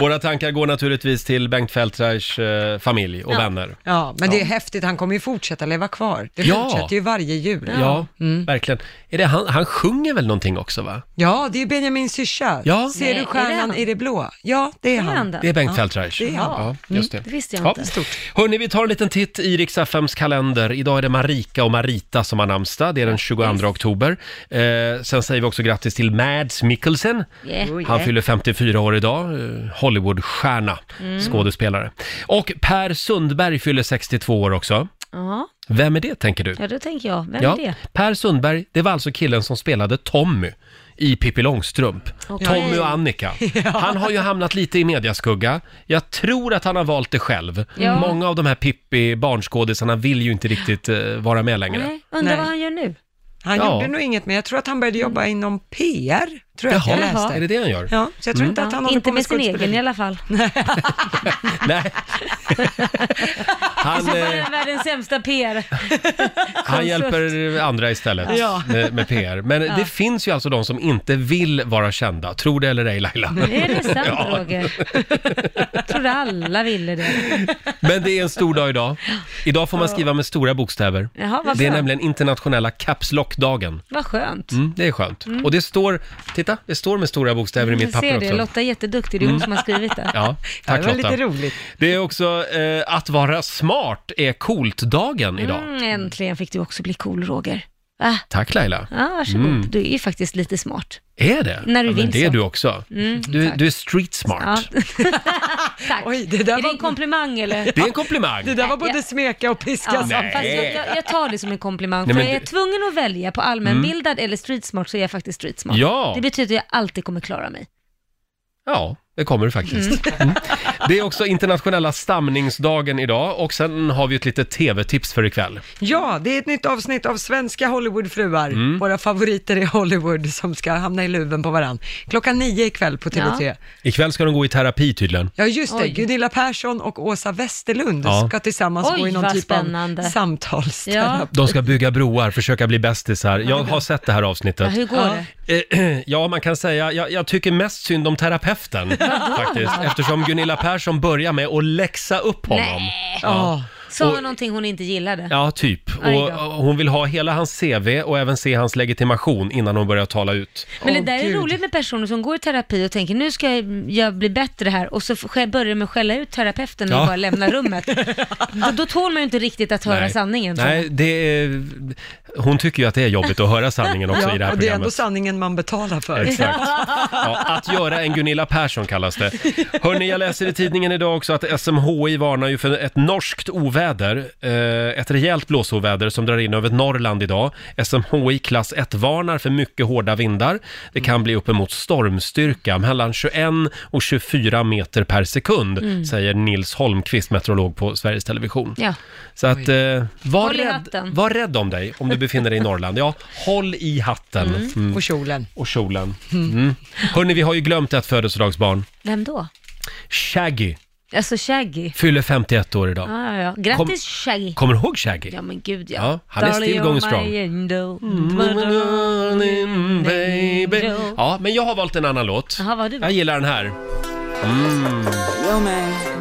Speaker 1: Våra tankar går naturligtvis till Bengt Feldtreich eh, familj och
Speaker 3: Ja.
Speaker 1: vänner.
Speaker 3: Ja, men det är häftigt. Han kommer ju fortsätta leva kvar. Det
Speaker 1: Ja.
Speaker 3: fortsätter ju varje jul.
Speaker 1: Ja,
Speaker 3: Mm.
Speaker 1: verkligen. Är det, han, han sjunger väl någonting också va?
Speaker 3: Ja, det är Benjamin Syrsa.
Speaker 1: Ja.
Speaker 3: Ser
Speaker 1: Nej,
Speaker 2: är
Speaker 3: du
Speaker 2: det
Speaker 3: stjärnan
Speaker 2: han?
Speaker 3: i det blå? Ja, det är han.
Speaker 1: Det är Bengt
Speaker 3: ja.
Speaker 1: Feldtreich.
Speaker 3: Det är han.
Speaker 1: Ja, just det.
Speaker 2: Mm, det visste jag inte.
Speaker 1: Hörni, vi tar en liten titt i Rix FMs kalender. Idag är det Marika och Marita som har namnsdag. Det är den 22 oktober. Eh, sen säger vi också grattis till Mads Mikkelsen.
Speaker 2: Yeah. Oh, yeah.
Speaker 1: Han fyller 54 år idag. Eh, Hollywoodstjärna,
Speaker 2: Mm.
Speaker 1: skådespelare. Och Per Sundberg fyller 62 år också.
Speaker 2: Ja,
Speaker 1: Vem är det, tänker du?
Speaker 2: ja då tänker jag, vem
Speaker 1: Ja,
Speaker 2: är det?
Speaker 1: Per Sundberg, det var alltså killen som spelade Tommy i Pippi Långstrump.
Speaker 2: Okej.
Speaker 1: Tommy och Annika.
Speaker 2: Ja.
Speaker 1: Han har ju hamnat lite i mediaskugga. Jag tror att han har valt det själv.
Speaker 2: Ja.
Speaker 1: Många av de här Pippi barnskådisarna vill ju inte riktigt eh, vara med längre.
Speaker 2: Nej, undrar
Speaker 3: Nej.
Speaker 2: vad han gör nu?
Speaker 3: Han
Speaker 1: Ja. Mm.
Speaker 3: gjorde nog inget, men jag tror att han började jobba inom PR, tror jag att jag
Speaker 1: Jaha,
Speaker 3: läste.
Speaker 1: är det det han gör?
Speaker 3: Ja, så jag tror
Speaker 1: Mm.
Speaker 3: inte att han håller
Speaker 2: Inte
Speaker 3: på
Speaker 2: med sin
Speaker 3: skådespeleri.
Speaker 2: egen i alla fall.
Speaker 1: Nej.
Speaker 2: Han,
Speaker 1: han,
Speaker 2: så var
Speaker 1: eh,
Speaker 2: den världens sämsta PR.
Speaker 1: han hjälper andra istället
Speaker 2: Ja.
Speaker 1: med, med PR. Men
Speaker 2: Ja.
Speaker 1: det finns ju alltså de som inte vill vara kända, tror det eller ej Laila.
Speaker 2: Är det sant
Speaker 1: Ja.
Speaker 2: Roger? Jag trodde alla ville det.
Speaker 1: Men det är en stor dag idag. Idag får man skriva med stora bokstäver.
Speaker 2: Jaha, varför
Speaker 1: det är
Speaker 2: då?
Speaker 1: nämligen internationella Caps Lock-dagen.
Speaker 2: Vad skönt.
Speaker 1: Mm, det är skönt.
Speaker 2: Mm.
Speaker 1: Och det står, titta, det står med stora bokstäver i
Speaker 2: Jag
Speaker 1: mitt papper
Speaker 2: ser det,
Speaker 1: också.
Speaker 2: Lotta är jätteduktig, det är hon
Speaker 1: Mm.
Speaker 2: som har skrivit det.
Speaker 1: Ja, tack
Speaker 2: Det var
Speaker 1: Lotta.
Speaker 2: lite roligt.
Speaker 1: Det är också eh, att vara smart är coolt-dagen idag.
Speaker 2: Mm, äntligen fick du också bli cool Roger. Ah.
Speaker 1: Tack Laila.
Speaker 2: Ja, varsågod.
Speaker 1: Mm.
Speaker 2: Du är ju faktiskt lite smart.
Speaker 1: Är det?
Speaker 2: När du
Speaker 1: ja, men
Speaker 2: vill
Speaker 1: det är
Speaker 2: så.
Speaker 1: du också.
Speaker 2: Mm,
Speaker 1: du,
Speaker 2: tack.
Speaker 1: du är street smart.
Speaker 2: Ja. Tack. är det en komplimang eller?
Speaker 1: Det är en komplimang.
Speaker 3: Det där var både smeka och piska
Speaker 2: Ja,
Speaker 1: Nej.
Speaker 2: fast jag, jag, jag tar det som en komplimang.
Speaker 1: Nej,
Speaker 2: för
Speaker 1: men
Speaker 2: jag är
Speaker 1: det- Mm.
Speaker 2: tvungen att välja på allmänbildad eller streetsmart så är jag faktiskt streetsmart.
Speaker 1: Ja.
Speaker 2: Det betyder att jag alltid kommer klara mig.
Speaker 1: Ja, det kommer du faktiskt. Mm. Det är också internationella stamningsdagen idag och sen har vi ett litet tv-tips för ikväll.
Speaker 3: Ja, det är ett nytt avsnitt av Svenska Hollywoodfruar,
Speaker 1: Mm.
Speaker 3: våra favoriter i Hollywood som ska hamna i luven på varann. Klockan nio ikväll på TV3. Ja,
Speaker 1: Ikväll ska de gå i terapi tydligen.
Speaker 3: just det.
Speaker 2: Oj.
Speaker 3: Gunilla Persson och Åsa Westerlund
Speaker 1: Ja.
Speaker 3: ska tillsammans
Speaker 2: Oj,
Speaker 3: gå i någon
Speaker 2: vad
Speaker 3: typ
Speaker 2: spännande.
Speaker 3: av samtalsterapi.
Speaker 1: De ska bygga broar, försöka bli bästisar. Jag har sett det här avsnittet.
Speaker 2: Ja, hur går det?
Speaker 1: Eh, Ja, man kan säga, jag, jag tycker mest synd om terapeuten faktiskt. Eftersom Gunilla Persson börjar med att läxa upp honom.
Speaker 2: Nej.
Speaker 1: Ja.
Speaker 2: Sa
Speaker 1: Och-
Speaker 2: hon någonting hon inte gillade?
Speaker 1: Ja, typ.
Speaker 2: Aj
Speaker 1: Och
Speaker 2: då.
Speaker 1: och hon vill ha hela hans CV och även se hans legitimation innan hon börjar tala ut.
Speaker 2: Men det där är roligt med personer som går i terapi och tänker nu ska jag- jag bli bättre här och så f- börjar de med att skälla ut terapeuten och
Speaker 1: Ja.
Speaker 2: bara lämna rummet. då, då tål man ju inte riktigt att höra
Speaker 1: Nej.
Speaker 2: sanningen. tror
Speaker 1: Nej, det är, hon tycker ju att det är jobbigt att höra sanningen också i det här
Speaker 3: och det är ändå
Speaker 1: programmet.
Speaker 3: sanningen man betalar för.
Speaker 1: Exakt. Ja, att göra en Gunilla Persson kallas det. Hörni, jag läser i tidningen idag också att SMHI varnar ju för ett norskt oväder. Eh, ett rejält blåsoväder som drar in över Norrland idag. SMHI klass 1 varnar för mycket hårda vindar. Det kan bli uppemot stormstyrka, mellan 21 och 24 meter per sekund,
Speaker 2: Mm.
Speaker 1: säger Nils Holmqvist, meteorolog på Sveriges Television.
Speaker 2: jag. Ja.
Speaker 1: Så att, eh, var,
Speaker 2: Håll i
Speaker 1: rädd,
Speaker 2: hatten.
Speaker 1: var rädd om dig om du befinner dig i Norrland. Ja, håll i hatten.
Speaker 2: Mm.
Speaker 3: Och kjolen.
Speaker 1: Och kjolen. Mm. Hörni, vi har ju glömt ett födelsedagsbarn.
Speaker 2: Vem då?
Speaker 1: Shaggy
Speaker 2: Alltså Shaggy. Ah,
Speaker 1: fyller 51 år idag.
Speaker 2: Ja, ja, ja. Grattis
Speaker 1: Kom-
Speaker 2: Shaggy.
Speaker 1: Kommer du ihåg Shaggy?
Speaker 2: Ja men gud ja.
Speaker 1: Ja, han är
Speaker 2: Darling,
Speaker 1: still going
Speaker 2: you're
Speaker 1: strong. Mm.
Speaker 2: my angel.
Speaker 1: Baby. Ja, men jag har valt en annan låt.
Speaker 2: Jaha, vad har du
Speaker 1: Jag gillar den här. Mm.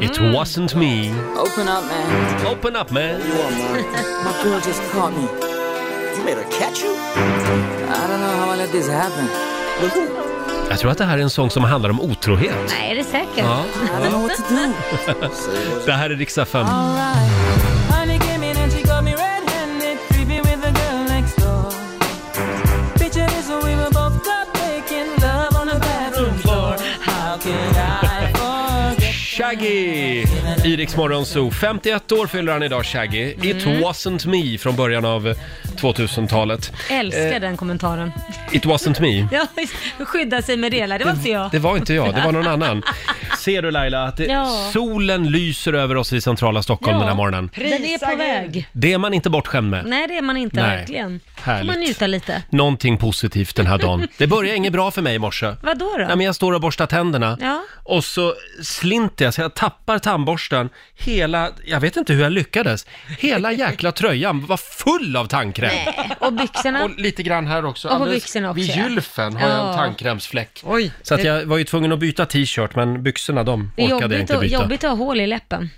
Speaker 1: It wasn't me.
Speaker 22: Open up, man.
Speaker 1: Open up man.
Speaker 22: My girl just caught me. You made her catch you? I don't know how I let this happen.
Speaker 1: Jag tror att det här är en sång som handlar om otrohet.
Speaker 2: Nej, är det säkert?
Speaker 1: Ja.
Speaker 22: I don't know what to do.
Speaker 1: det här är riksdag 5.
Speaker 22: Alright. Honey came in and she got me red-handed, creepy with the girl next door. Picture this when we were both up making love on the bathroom floor. How could I forget?
Speaker 1: Shaggy! I Rix Morgon Zoo. 51 år fyller han idag, Shaggy. It
Speaker 2: Mm.
Speaker 1: wasn't me från början av 2000-talet.
Speaker 2: Älskar
Speaker 1: Eh,
Speaker 2: den kommentaren.
Speaker 1: It wasn't me.
Speaker 2: Ja, skydda sig med delar, det var inte jag.
Speaker 1: Det var inte jag, det var någon annan. Ser du Laila, att det,
Speaker 2: Ja.
Speaker 1: solen lyser över oss i centrala Stockholm
Speaker 2: Ja.
Speaker 1: den här morgonen.
Speaker 2: Den är på väg.
Speaker 1: Det är man inte bortskämd med.
Speaker 2: Nej, det är man inte,
Speaker 1: Nej.
Speaker 2: verkligen. får man
Speaker 1: Härligt.
Speaker 2: njuta lite.
Speaker 1: Någonting positivt den här dagen. Det började inget bra för mig i morse.
Speaker 2: Vad då? då?
Speaker 1: Ja, men jag står och borstar tänderna
Speaker 2: Ja.
Speaker 1: och så slinter jag så jag tappar tandborsten. Hela, jag vet inte hur jag lyckades. Hela jäkla tröjan var full av tandkräm.
Speaker 2: Nej. Och byxorna?
Speaker 1: Och lite grann här också.
Speaker 2: Och på
Speaker 1: Alldeles
Speaker 2: byxorna också,
Speaker 1: Vid
Speaker 2: ja.
Speaker 1: gylfen har jag
Speaker 2: Ja.
Speaker 1: en tandkrämsfläck.
Speaker 2: Oj.
Speaker 1: Så att jag var ju tvungen att byta t-shirt, men byxorna de
Speaker 2: det är
Speaker 1: orkade jag
Speaker 2: jobbigt,
Speaker 1: inte
Speaker 2: att,
Speaker 1: byta.
Speaker 2: jobbigt att ha hål i läppen.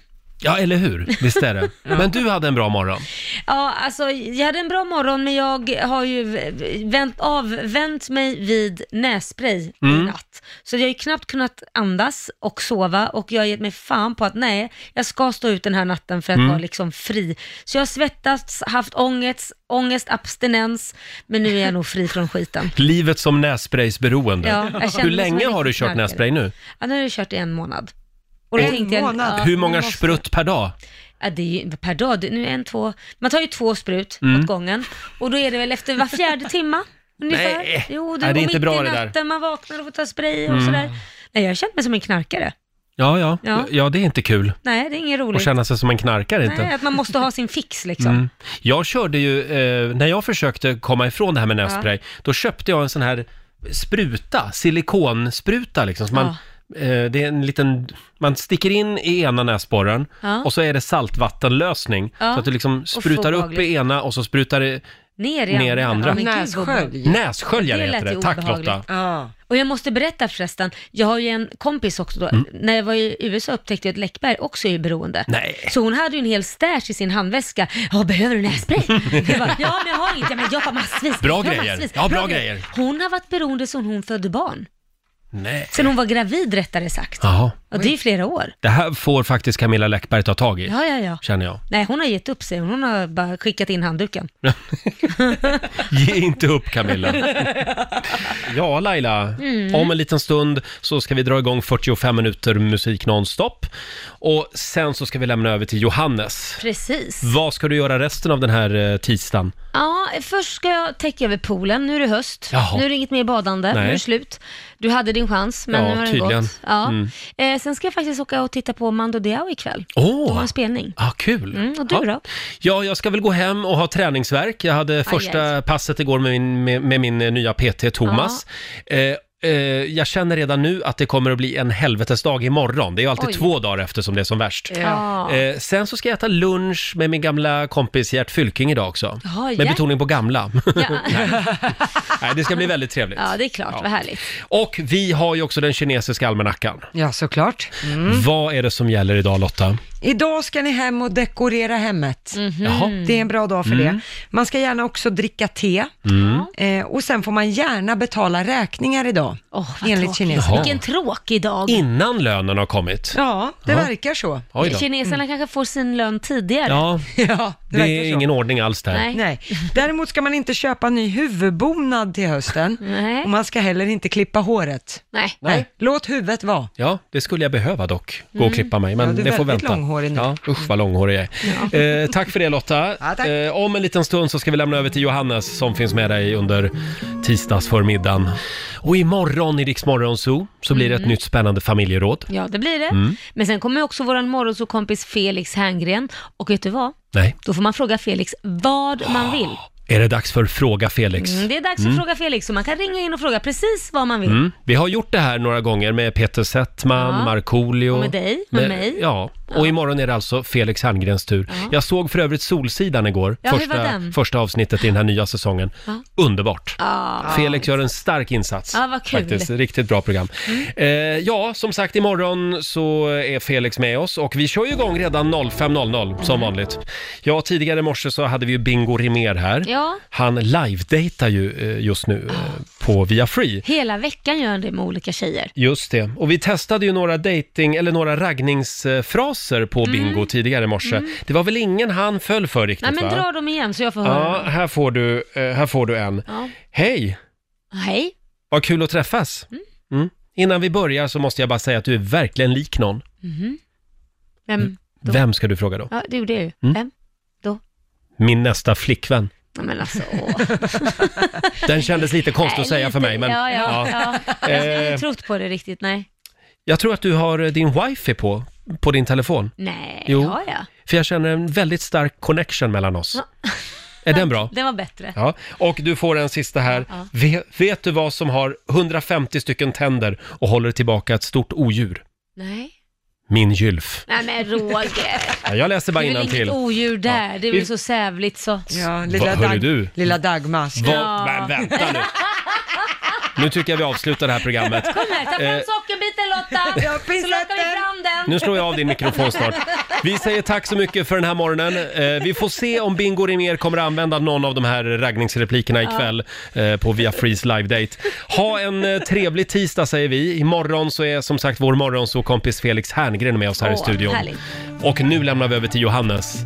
Speaker 1: Ja, eller hur? Visst är det. Men du hade en bra morgon.
Speaker 2: Ja, alltså jag hade en bra morgon men jag har ju vänt, avvänt mig vid nässpray i
Speaker 23: Mm.
Speaker 2: natt. Så jag har ju knappt kunnat andas och sova och jag har gett mig fan på att nej, jag ska stå ut den här natten för att
Speaker 23: Mm.
Speaker 2: vara liksom fri. Så jag har svettats, haft ångest, ångest, abstinens, men nu är jag nog fri från skiten.
Speaker 1: Livet som nässpraysberoende.
Speaker 2: Ja, jag känner mig som
Speaker 1: Hur
Speaker 2: en
Speaker 1: länge har du
Speaker 2: riktig
Speaker 1: kört
Speaker 2: knarkare.
Speaker 1: nässpray nu?
Speaker 2: Ja, nu har jag kört i en månad. Och då tänkte jag- ja,
Speaker 1: Hur många
Speaker 2: måste-
Speaker 1: sprutt per dag?
Speaker 2: Ja, det är ju per dag. Det, nu är en, två. Man tar ju två sprut
Speaker 1: Mm.
Speaker 2: åt gången och då är det väl efter var fjärde timma ungefär.
Speaker 1: Nej.
Speaker 2: jo,
Speaker 1: Nej, det är
Speaker 2: och
Speaker 1: inte
Speaker 2: mitt
Speaker 1: bra
Speaker 2: i
Speaker 1: det där.
Speaker 2: natten, Man vaknar och får ta spray och
Speaker 1: Mm.
Speaker 2: sådär. Nej, jag har känt mig som en knarkare.
Speaker 1: Ja, ja, ja.
Speaker 2: Ja.
Speaker 1: det är inte kul.
Speaker 2: Nej, det är inget roligt.
Speaker 1: Att känna sig som en knarkare inte.
Speaker 2: Nej, att man måste ha sin fix liksom.
Speaker 1: Mm. Jag körde ju, eh, när jag försökte komma ifrån det här med nässpray, då köpte jag en sån här spruta, silikonspruta liksom. Så man, eh, det är en liten, man sticker in i ena näsborren
Speaker 2: Ja.
Speaker 1: och så är det saltvattenlösning.
Speaker 2: Ja.
Speaker 1: Så att det liksom
Speaker 2: Och
Speaker 1: sprutar upp i
Speaker 2: obehagligt.
Speaker 1: ena och så sprutar det
Speaker 2: Ner i
Speaker 1: ner i
Speaker 2: andra.
Speaker 1: andra.
Speaker 2: Ja, men gud, vad obehagligt.
Speaker 1: Nässköljare
Speaker 2: Det lät
Speaker 1: heter
Speaker 2: ju
Speaker 1: det. Tack
Speaker 2: obehagligt.
Speaker 1: Lotta.
Speaker 2: Och jag måste berätta förresten, jag har ju en kompis också då,
Speaker 1: Mm.
Speaker 2: när jag var i USA upptäckte jag att Läckberg också är beroende.
Speaker 1: Nej.
Speaker 2: Så hon hade ju en hel stash i sin handväska. Ja, behöver du nässpray? jag bara, ja men jag har inte, men jag har massvis.
Speaker 1: Bra
Speaker 2: jag har
Speaker 1: grejer.
Speaker 2: massvis.
Speaker 1: Ja, bra grejer.
Speaker 2: Hon har varit beroende sedan hon födde barn.
Speaker 1: Nej.
Speaker 2: Sen hon var gravid rättare sagt.
Speaker 1: Jaha.
Speaker 2: Ja, det är ju flera år.
Speaker 1: Det här får faktiskt Camilla Läckberg ta tag i,
Speaker 2: Ja, ja, ja.
Speaker 1: känner jag.
Speaker 2: Nej, hon har gett upp sig. Hon har bara skickat in handduken.
Speaker 1: Ge inte upp Camilla. Ja, Laila.
Speaker 2: Mm.
Speaker 1: Om en liten stund så ska vi dra igång 45 minuter musik nonstop. Och sen så ska vi lämna över till Johannes.
Speaker 2: Precis.
Speaker 1: Vad ska du göra resten av den här eh, tisdagen?
Speaker 2: Ja, först ska jag täcka över poolen. Nu är det höst.
Speaker 1: Jaha.
Speaker 2: Nu är det inget mer badande.
Speaker 1: Nej.
Speaker 2: Nu är det slut. Du hade din chans, men
Speaker 1: Ja,
Speaker 2: nu har den
Speaker 1: tydligen.
Speaker 2: gått. Ja.
Speaker 1: Mm.
Speaker 2: Eh, sen ska jag faktiskt åka och titta på Mando Diao ikväll.
Speaker 1: Åh!
Speaker 2: De har en spelning.
Speaker 1: Ah, kul!
Speaker 2: Mm, och du
Speaker 1: ja.
Speaker 2: då? Ah,
Speaker 1: Ja, jag ska väl gå hem och ha träningsverk. Jag hade första
Speaker 2: aj.
Speaker 1: passet igår med min, med, med min eh, nya PT Thomas. Eh, eh, jag känner redan nu att det kommer att bli en helvetesdag imorgon. Det är ju alltid
Speaker 2: Oj.
Speaker 1: två dagar efter som det är som värst.
Speaker 2: Ja.
Speaker 1: Eh, sen så ska jag äta lunch med min gamla kompis Gert Fylking idag också.
Speaker 2: Jaha,
Speaker 1: med
Speaker 2: Gert.
Speaker 1: betoning på gamla. Nej. Nej, det ska bli väldigt trevligt.
Speaker 2: Ja, det är klart. Vad härligt.
Speaker 1: Och vi har ju också den kinesiska almanackan.
Speaker 3: Ja, såklart. Mm.
Speaker 1: Vad är det som gäller idag
Speaker 2: Mm.
Speaker 1: Lotta?
Speaker 3: Idag ska ni hem och dekorera hemmet.
Speaker 1: Jaha.
Speaker 3: Det är en bra dag för
Speaker 1: Mhm. Mm.
Speaker 3: det. Man ska gärna också dricka te.
Speaker 1: Mm.
Speaker 3: Eh, och sen får man gärna betala räkningar idag,
Speaker 2: Vad
Speaker 3: enligt
Speaker 2: tråkigt.
Speaker 3: kineserna.
Speaker 2: Vilken tråkig dag.
Speaker 1: Innan lönen har kommit.
Speaker 3: Ja, det
Speaker 1: Ja.
Speaker 3: verkar så.
Speaker 1: Oj då.
Speaker 2: Kineserna
Speaker 3: Mm.
Speaker 2: kanske får sin lön tidigare.
Speaker 1: Ja,
Speaker 3: ja
Speaker 1: det, är ingen ordning alls där.
Speaker 2: Nej.
Speaker 3: Nej. Däremot ska man inte köpa ny huvudbonad till hösten. Och man ska heller inte klippa håret.
Speaker 2: Nej.
Speaker 1: Nej.
Speaker 3: Låt huvudet vara.
Speaker 1: Ja, det skulle jag behöva dock. Gå och
Speaker 3: Mm.
Speaker 1: klippa mig, men
Speaker 3: Ja, du är
Speaker 1: det får
Speaker 3: väldigt
Speaker 1: vänta.
Speaker 3: långhårig nu. Mm.
Speaker 1: Ja, usch vad långhårig jag är. Eh, tack för det Lotta.
Speaker 3: Ja, tack.
Speaker 1: eh, om en liten stund så ska vi lämna över till Johannes som finns med dig under tisdagsförmiddagen. Och imorgon i Rix Morgon Zoo så blir det ett
Speaker 2: Mm.
Speaker 1: nytt spännande familjeråd.
Speaker 2: Ja, det blir det.
Speaker 1: Mm.
Speaker 2: Men sen kommer ju också vår morgonsåkompis Felix Herngren. Och vet du vad?
Speaker 1: Nej,
Speaker 2: Då får man fråga Felix vad man vill.
Speaker 1: är det dags för Fråga Felix?
Speaker 2: Mm, det är dags
Speaker 1: Ah. Mm.
Speaker 2: att fråga Felix, så man kan ringa in och fråga precis vad man vill.
Speaker 1: Mm. Vi har gjort det här några gånger med Peter Settman,
Speaker 2: Ja.
Speaker 1: Markoolio.
Speaker 2: Och med dig, och mig.
Speaker 1: Ja, och imorgon är det alltså Felix Herngrens tur. Jag såg för övrigt Solsidan igår,
Speaker 2: Ja, hur var
Speaker 1: första,
Speaker 2: den?
Speaker 1: första avsnittet i den här nya säsongen.
Speaker 2: Ja.
Speaker 1: Underbart!
Speaker 2: Ja.
Speaker 1: Felix gör en stark insats.
Speaker 2: Ja, vad kul. Mm.
Speaker 1: Faktiskt, riktigt bra program. Eh, ja, som sagt, imorgon så är Felix med oss och vi kör ju igång redan 05.00
Speaker 2: Mm.
Speaker 1: som vanligt. Ja, tidigare i morse så hade vi ju Bingo Rimér här.
Speaker 2: Ja. Ah.
Speaker 1: Han live-dejtar ju eh, just nu eh, på Via Free.
Speaker 2: Hela veckan gör han det med olika tjejer.
Speaker 1: Just det. Och vi testade ju några dating eller några raggningsfraser
Speaker 2: Mm.
Speaker 1: på Bingo tidigare i morse. Det var väl ingen han föll för riktigt
Speaker 2: Nej men
Speaker 1: va?
Speaker 2: dra dem igen så jag får
Speaker 1: ja,
Speaker 2: höra.
Speaker 1: här får, du, eh, här får du en.
Speaker 2: Ja.
Speaker 1: Hej!
Speaker 2: Hej.
Speaker 1: Vad kul att träffas. Mm. Innan vi börjar så måste jag bara säga att du är verkligen lik någon.
Speaker 2: Mhm. Vem?
Speaker 1: Vem ska du fråga då?
Speaker 2: Ja, det gjorde jag ju.
Speaker 1: Mm.
Speaker 2: Vem?
Speaker 1: Min nästa flickvän.
Speaker 2: Nej men alltså,
Speaker 1: Den kändes lite konstig att
Speaker 2: Nej,
Speaker 1: säga för mig, men
Speaker 2: ja, ja, ja. Jag skulle
Speaker 1: Eh.
Speaker 2: inte trott på det riktigt, nej.
Speaker 1: jag tror att du har eh, din wifi på, på din telefon.
Speaker 2: Nej,
Speaker 1: Jo.
Speaker 2: har jag?
Speaker 1: För jag känner en väldigt stark connection mellan oss. Är den bra?
Speaker 2: Den var bättre.
Speaker 1: Ja, och du får en sista här.
Speaker 2: Ja.
Speaker 1: Ve- vet du vad som har 150 stycken tänder och håller tillbaka ett stort odjur?
Speaker 2: Nej.
Speaker 1: Min gylf.
Speaker 2: Nej men Roger.
Speaker 1: Ja, jag läser bara
Speaker 2: Det är väl
Speaker 1: innantill.
Speaker 2: inget odjur där, det är
Speaker 1: Vi- Eh.
Speaker 2: väl så sävligt så.
Speaker 3: Ja,
Speaker 1: lilla Vad- hörru Dag- du?
Speaker 3: lilla Dagmar.
Speaker 1: Vad- men vänta nu. Nu tycker jag vi avslutar det här programmet.
Speaker 2: Kom här, ta
Speaker 1: Eh,
Speaker 2: fram sockerbiten Lotta! så lockar vi fram den.
Speaker 1: Nu slår jag av din mikrofon snart. Vi säger tack så mycket för den här morgonen. Eh, vi får se om Bingo Rimér kommer att använda någon av de här raggningsreplikerna
Speaker 2: Ja.
Speaker 1: ikväll eh, på Via Freeze live-date. Ha en eh, trevlig tisdag säger vi. Imorgon så är som sagt vår morgonsåkompis Felix Herngren med oss här i
Speaker 2: Åh,
Speaker 1: studion.
Speaker 2: härligt.
Speaker 1: Och nu lämnar vi över till Johannes.